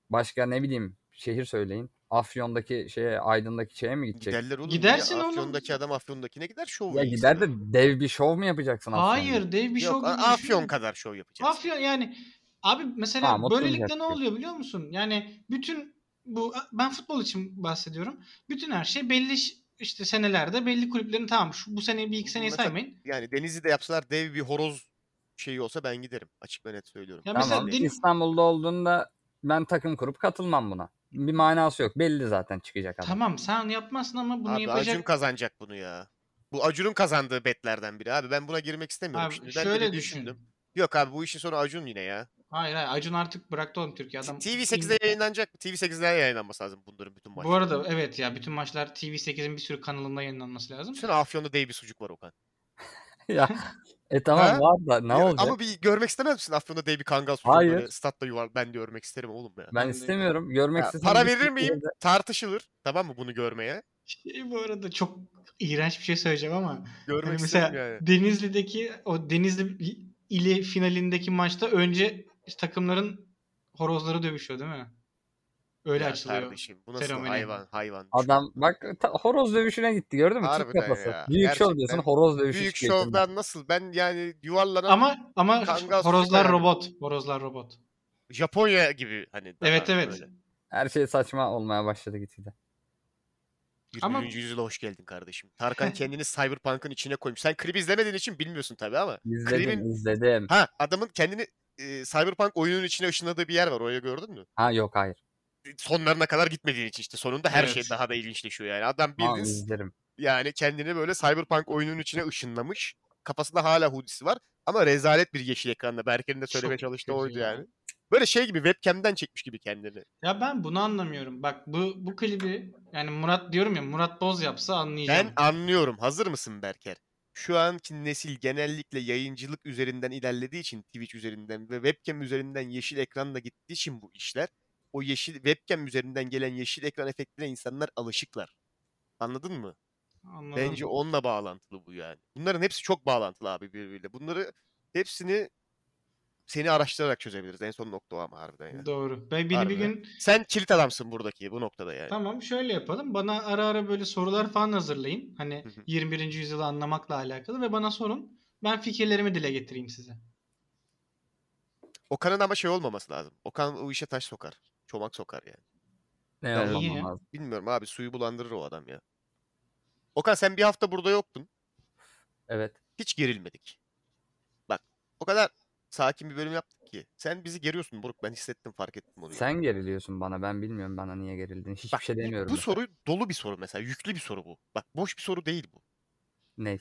Başka ne bileyim şehir söyleyin. Afyon'daki şeye, Aydın'daki şeye mi gidecek? Giderler oğlum. Gidersin ya, oğlum. Afyon'daki adam Afyon'dakine gider şov. Ya ya gider de insanlar. dev bir şov mu yapacaksın Afyon'da? Hayır dev bir şey Yok, gibi A- Afyon düşünme. kadar şov yapacaksın. Afyon yani abi mesela Tamam, oturun böylelikle ne yapacak. oluyor biliyor musun? Yani bütün bu ben futbol için bahsediyorum. Bütün her şey belli ş- işte senelerde belli kulüplerin tamam şu bu sene bir iki seneyi Mesela- saymayın. Yani Denizli'de yapsalar dev bir horoz şeyi olsa ben giderim. Açık ve net söylüyorum. Ya mesela Tamam. din- İstanbul'da olduğunda ben takım kurup katılmam buna. Bir manası yok. Belli zaten çıkacak adam. Tamam sen yapmazsın ama bunu abi Acun yapacak. kazanacak bunu ya. Bu Acun'un kazandığı betlerden biri abi. Ben buna girmek istemiyorum Abi şimdi. Ben de şöyle bir düşün. düşündüm. Yok abi bu işin sonu Acun yine ya. Hayır hayır Acun artık bıraktı oğlum Türkiye adam. TV8'de yayınlanacak mı? TV8'den yayınlanması lazım bunların bütün maçları. Bu arada evet ya bütün maçlar TV8'in bir sürü kanalında yayınlanması lazım. Düşünsene Afyon'da dev bir sucuk var Okan. (laughs) ya. E tamam Ha? var da ne Ya olacak? Ama bir görmek istemez misin Afyon'da dev bir kangal sucuk? Hayır. Böyle statta yuvar. Ben de görmek isterim oğlum ya. Ben istemiyorum. Görmek Ya, istesem para gitsin verir miyim? bir yere- Tartışılır. Tamam mı bunu görmeye? Şey, bu arada çok iğrenç bir şey söyleyeceğim ama Görmek Hani isterim mesela yani. Denizli'deki o Denizli ili finalindeki maçta önce takımların horozları dövüşüyor değil mi? Öyle Ya açılıyor. Kardeşim bu nasıl fenomeni. hayvan hayvan. Adam bak ta- horoz dövüşüne gitti gördün mü? Çık Harbiden kafası. ya, Büyük şov gerçekten. diyorsun horoz dövüşü Büyük çıkıyor içinden. şovdan nasıl? Ben yani yuvarlanan Ama ama Kangal horozlar süper. robot. Horozlar robot. Japonya gibi hani. daha Evet, evet. böyle. Her şey saçma olmaya başladı gitgide. Ama- 21. yüzyıla hoş geldin kardeşim. (laughs) Tarkan kendini Cyberpunk'ın içine koymuş. Sen klibi izlemediğin için bilmiyorsun tabii ama. İzledim Klibin- izledim. Ha adamın kendini e, Cyberpunk oyunun içine ışınladığı bir yer var. Orayı gördün mü? Ha yok hayır. Sonlarına kadar gitmediğin için işte. Sonunda her Evet. şey daha da ilginçleşiyor yani. Adam Tamam bildiğin izlerim. yani kendini böyle Cyberpunk oyunun içine ışınlamış. Kafasında hala hoodisi var ama rezalet bir yeşil ekranda. Berker'in de söylemeye Çok çalıştığı kötü oydu ya. yani. Böyle şey gibi webcam'den çekmiş gibi kendini. Ya ben bunu anlamıyorum. Bak bu bu klibi yani Murat diyorum ya Murat Boz yapsa anlayacağım. Ben anlıyorum. Hazır mısın Berker? Şu anki nesil genellikle yayıncılık üzerinden ilerlediği için Twitch üzerinden ve webcam üzerinden yeşil ekranla gittiği için bu işler o yeşil webcam üzerinden gelen yeşil ekran efektine insanlar alışıklar. Anladın mı? Anladım. Bence onunla bağlantılı bu yani. Bunların hepsi çok bağlantılı abi birbiriyle. Bunları hepsini seni araştırarak çözebiliriz. En son nokta o ama harbiden ya. Doğru. Ben beni bir Harbiden. gün Sen kilit adamsın buradaki bu noktada yani. Tamam şöyle yapalım. Bana ara ara böyle sorular falan hazırlayın. Hani Hı hı. 21. yüzyılı anlamakla alakalı ve bana sorun. Ben fikirlerimi dile getireyim size. Okan'ın ama şey olmaması lazım. Okan o işe taş sokar. Çomak sokar yani. Ne Ben- olmam İyi. lazım. Bilmiyorum abi suyu bulandırır o adam ya. Okan sen bir hafta burada yoktun. Evet. Hiç gerilmedik. Bak o kadar sakin bir bölüm yaptık ki. Sen bizi geriyorsun Buruk. Ben hissettim fark ettim onu. ya. Sen geriliyorsun bana. Ben bilmiyorum bana niye gerildin. Hiçbir Bak, şey bu- demiyorum. Bu mesela. soru dolu bir soru mesela. Yüklü bir soru bu. Bak boş bir soru değil bu. Ne?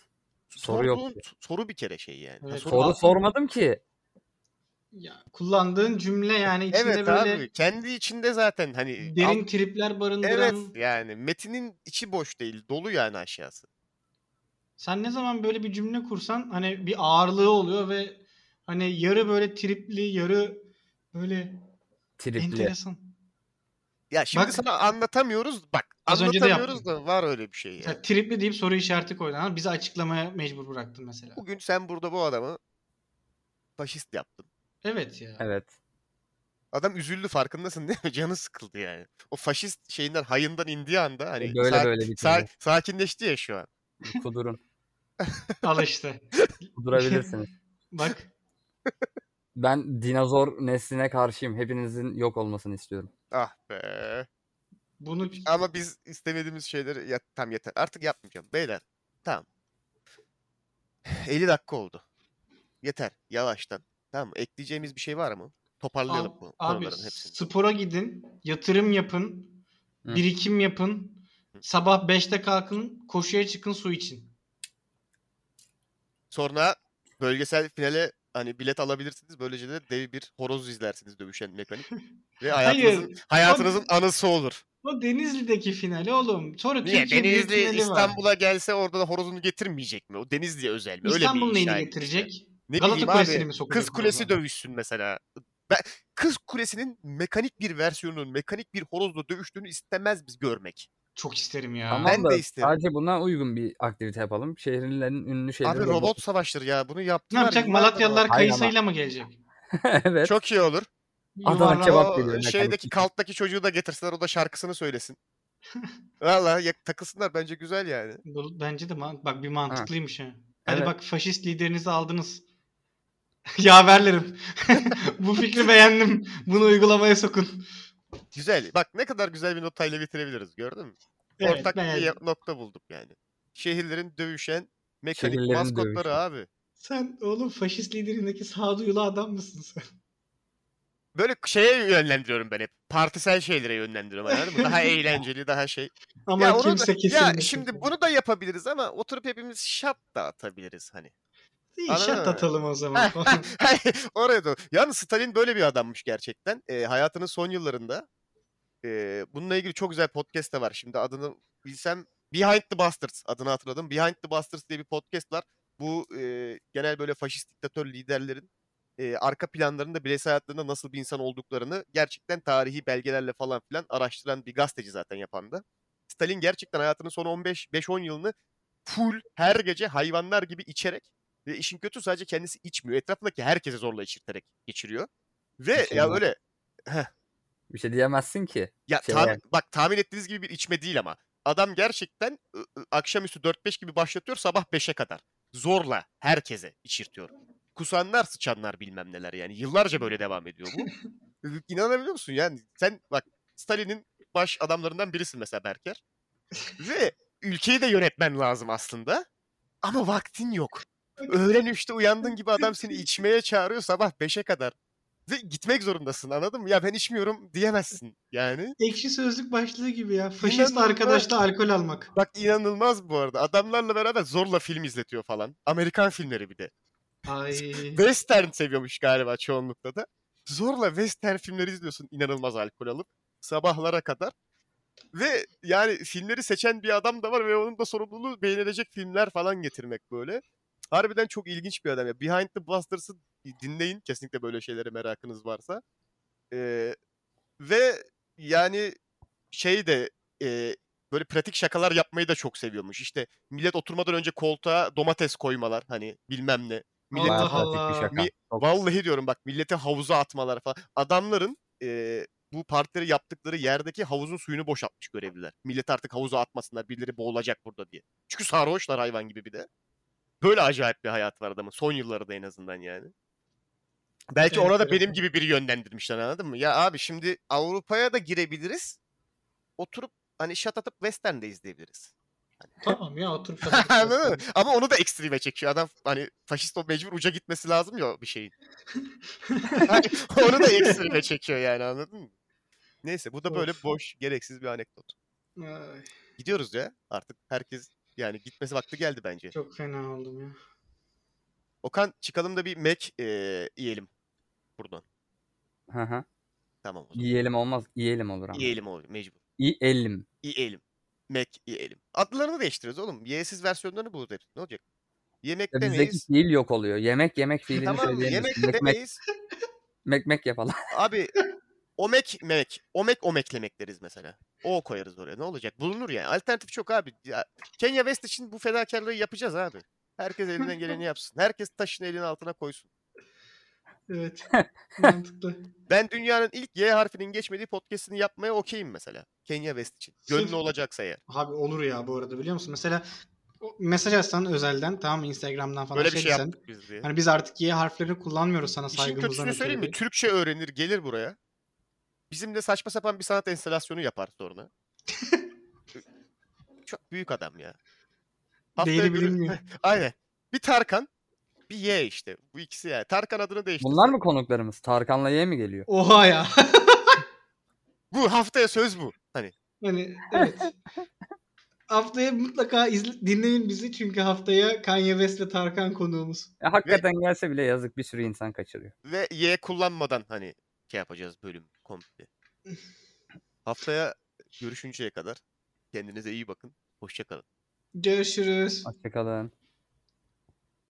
Soru yok Sorduğun t- soru bir kere şey yani. Ha, Evet, soru- Soru altın- sormadım ki. Ya kullandığın cümle yani içinde Evet böyle abi kendi içinde zaten hani derin alt- tripler barındıran. Evet yani metinin içi boş değil dolu yani aşağısı. Sen ne zaman böyle bir cümle kursan hani bir ağırlığı oluyor ve hani yarı böyle tripli, yarı böyle Tripli. enteresan. Ya şimdi Bak- sana anlatamıyoruz bak Az önce de anlatamıyoruz da var öyle bir şey yani. Mesela tripli deyip soru işareti koydun ama bizi açıklamaya mecbur bıraktın mesela. Bugün sen burada bu adamı faşist yaptın. Evet ya. Evet. Adam üzüldü farkındasın değil mi? (laughs) Canı sıkıldı yani. O faşist şeyinden hayından indiği anda hani böyle sak- böyle bitirdi. sak- sakinleşti ya şu an. Kudurun. Al işte. (laughs) Kudurabilirsiniz. Bak. Ben dinozor nesline karşıyım. Hepinizin yok olmasını istiyorum. Ah be. (laughs) Bunu Ama biz istemediğimiz şeyleri ya, tam yeter. Artık yapmayacağım. Beyler tamam. 50 dakika oldu. Yeter. Yavaştan. Tamam mı? Ekleyeceğimiz bir şey var mı? Toparlayalım Abi- bu Abi konuların hepsini. spora gidin, yatırım yapın, Hı. birikim yapın, sabah 5'te kalkın, koşuya çıkın, su için. Sonra bölgesel finale hani bilet alabilirsiniz. Böylece de dev bir horoz izlersiniz dövüşen mekanik. Ve hayatınızın, hayatınızın anısı olur. O Denizli'deki finali oğlum. Sonra Niye? Türkiye Büyük Denizli finali var. İstanbul'a gelse orada da horozunu getirmeyecek mi? O Denizli'ye özel mi? Öyle İstanbul bir şey neyini inşa getirecek? etmişler. Ne Galata bileyim Kulesi'ni abi, mi sokacak Kız Kulesi oradan? dövüşsün mesela. Ben, Kız Kulesi'nin mekanik bir versiyonunun mekanik bir horozla dövüştüğünü istemez biz görmek. Çok isterim ya. Tamam ben da de isterim. sadece buna uygun bir aktivite yapalım. Şehirlerin ünlü şeyleri Abi robot. robot savaştır ya. Bunu ne yaptılar. yapacak? yıllardır Malatyalılar var. Hayır kayısıyla mı gelecek? (laughs) evet. Çok iyi olur. Adana Yuvarlak- kebap. O geliyor mekanik şeydeki için. kalttaki çocuğu da getirsinler o da şarkısını (laughs) söylesin. Valla ya- takılsınlar bence güzel yani. Bu- Bence de man- bak bir mantıklıymış ha. Hadi Evet. bak faşist liderinizi aldınız. (laughs) Yaverlerim. (laughs) Bu fikri beğendim. Bunu uygulamaya sokun. Güzel. Bak ne kadar güzel bir notayla bitirebiliriz gördün mü? Evet, Ortak bir şey beğendim. ya- nokta bulduk yani. Şehirlerin dövüşen mekanik Şehirlerin maskotları dövüşen. abi. Sen oğlum faşist liderindeki sağduyulu adam mısın sen? Böyle şeye yönlendiriyorum ben hep. Partisel şeylere yönlendiriyorum anladın mı? (laughs) Daha eğlenceli, daha şey. Ama ya, onu da- kimse kesilmesin. ya şimdi bunu da yapabiliriz ama oturup hepimiz şap da atabiliriz (laughs) hani. İyi, Anladın şat mı? atalım o zaman. (laughs) Oraya doğru. Yalnız Stalin böyle bir adammış gerçekten. Ee, hayatının son yıllarında. ee, bununla ilgili çok güzel podcast da var. Şimdi adını bilsem Behind the Bastards adını hatırladım. Behind the Bastards diye bir podcast var. Bu ee, genel böyle faşist diktatör liderlerin ee, arka planlarında bireysel hayatlarında nasıl bir insan olduklarını gerçekten tarihi belgelerle falan filan araştıran bir gazeteci zaten yapan da. Stalin gerçekten hayatının son 15-5-10 yılını full her gece hayvanlar gibi içerek ve işin kötü sadece kendisi içmiyor. Etrafındaki herkese zorla içirterek geçiriyor. Ve Kesinlikle. ya öyle Bir şey diyemezsin ki. ya Şey tahmin- yani. bak tahmin ettiğiniz gibi bir içme değil ama. Adam gerçekten ı, ı, akşamüstü 4-5 gibi başlatıyor sabah 5'e kadar. Zorla herkese içirtiyor. Kusanlar sıçanlar bilmem neler yani. Yıllarca böyle devam ediyor (laughs) bu. Ü, İnanabiliyor musun yani? Sen bak Stalin'in baş adamlarından birisin mesela Berker. Ve ülkeyi de yönetmen lazım aslında. Ama vaktin yok. Öğlen 3'te uyandığın gibi adam seni içmeye çağırıyor sabah 5'e kadar. Ve gitmek zorundasın anladın mı? Ya ben içmiyorum diyemezsin yani. Ekşi sözlük başlığı gibi ya. Faşist İnanılmaz. arkadaşla alkol almak. Bak inanılmaz bu arada. Adamlarla beraber zorla film izletiyor falan. Amerikan filmleri bir de. Ay. Western seviyormuş galiba çoğunlukla da. Zorla western filmleri izliyorsun inanılmaz alkol alıp. Sabahlara kadar. Ve yani filmleri seçen bir adam da var ve onun da sorumluluğu beğenilecek filmler falan getirmek böyle. Harbiden çok ilginç bir adam. ya. Behind the Busters'ı dinleyin. Kesinlikle böyle şeylere merakınız varsa. Ee, ve yani şey de e, böyle pratik şakalar yapmayı da çok seviyormuş. İşte millet oturmadan önce koltuğa domates koymalar hani bilmem ne. Millet Allah Bayağı pratik bir Allah. şaka. Mi- Çok- Vallahi diyorum bak millete havuza atmalar falan. Adamların eee, bu partileri yaptıkları yerdeki havuzun suyunu boşaltmış görevliler. Millet artık havuza atmasınlar birileri boğulacak burada diye. Çünkü sarhoşlar hayvan gibi bir de. Böyle acayip bir hayat var adamın. Son yılları da en azından yani. Belki ona da Enteresan. benim gibi biri yönlendirmişler anladın mı? Ya abi şimdi Avrupa'ya da girebiliriz. Oturup hani şat atıp western de izleyebiliriz. tamam ya (laughs) otur. Anladın mı? Ama onu da ekstreme çekiyor. Adam hani faşist o mecbur uca gitmesi lazım ya bir şeyin. Hani onu da ekstreme çekiyor yani anladın mı? Neyse bu da böyle Of. boş, gereksiz bir anekdot. Ay, Gidiyoruz ya artık herkes yani gitmesi vakti geldi bence. çok fena oldum ya. Okan çıkalım da bir Mac eee, yiyelim buradan. Hı hı. Tamam o zaman. Yiyelim olmaz. Yiyelim olur ama. Yiyelim oğlum mecbur. Yiyelim. Yiyelim. Mac yiyelim. Adlarını değiştiririz oğlum. Y'siz versiyonlarını buluruz hep. Ne olacak? Yemek Ya bizdeki demeyiz. fiil yok oluyor. Yemek yemek fiilini Tamam söyleyemeyiz. yemek Mek- mek- demeyiz. Mek mek yapalım. Abi omek memek. Omek omeklemek deriz mesela. O koyarız oraya. Ne olacak? Bulunur yani. Alternatif çok abi. Ya, Kenya West için bu fedakarlığı yapacağız abi. Herkes elinden geleni yapsın. Herkes taşın elinin altına koysun. (laughs) Evet. Mantıklı. Ben dünyanın ilk Y harfinin geçmediği podcast'ini yapmaya okeyim mesela. Kenya West için. Gönlü Sırf- olacaksa eğer. Abi olur ya bu arada biliyor musun? Mesela o- mesaj atsan özelden tamam mı? Instagram'dan falan Böyle bir şey desen, yaptık biz diye. Hani biz artık Y harflerini kullanmıyoruz sana İşin saygımızdan kötüsünü ötürü söyleyeyim mi? diye. Türkçe öğrenir gelir buraya. Bizimle saçma sapan bir sanat enstalasyonu yapar (laughs) sonra. Çok büyük adam ya. Haftaya Değeri görü- (laughs) bilinmiyor. Aynen. Bir Tarkan, bir Y işte. Bu ikisi yani. Tarkan adını değiştirdi. Bunlar mı konuklarımız? Tarkan'la Y mi geliyor? Oha ya. (laughs) Bu haftaya söz bu. Hani Hani evet. haftaya mutlaka izle, dinleyin bizi çünkü haftaya Kanye West ve Tarkan konuğumuz. Ya, E, hakikaten gelse bile yazık bir sürü insan kaçırıyor. ve Y kullanmadan hani şey yapacağız bölüm komple. haftaya görüşünceye kadar kendinize iyi bakın. Hoşçakalın. Görüşürüz. Hoşçakalın.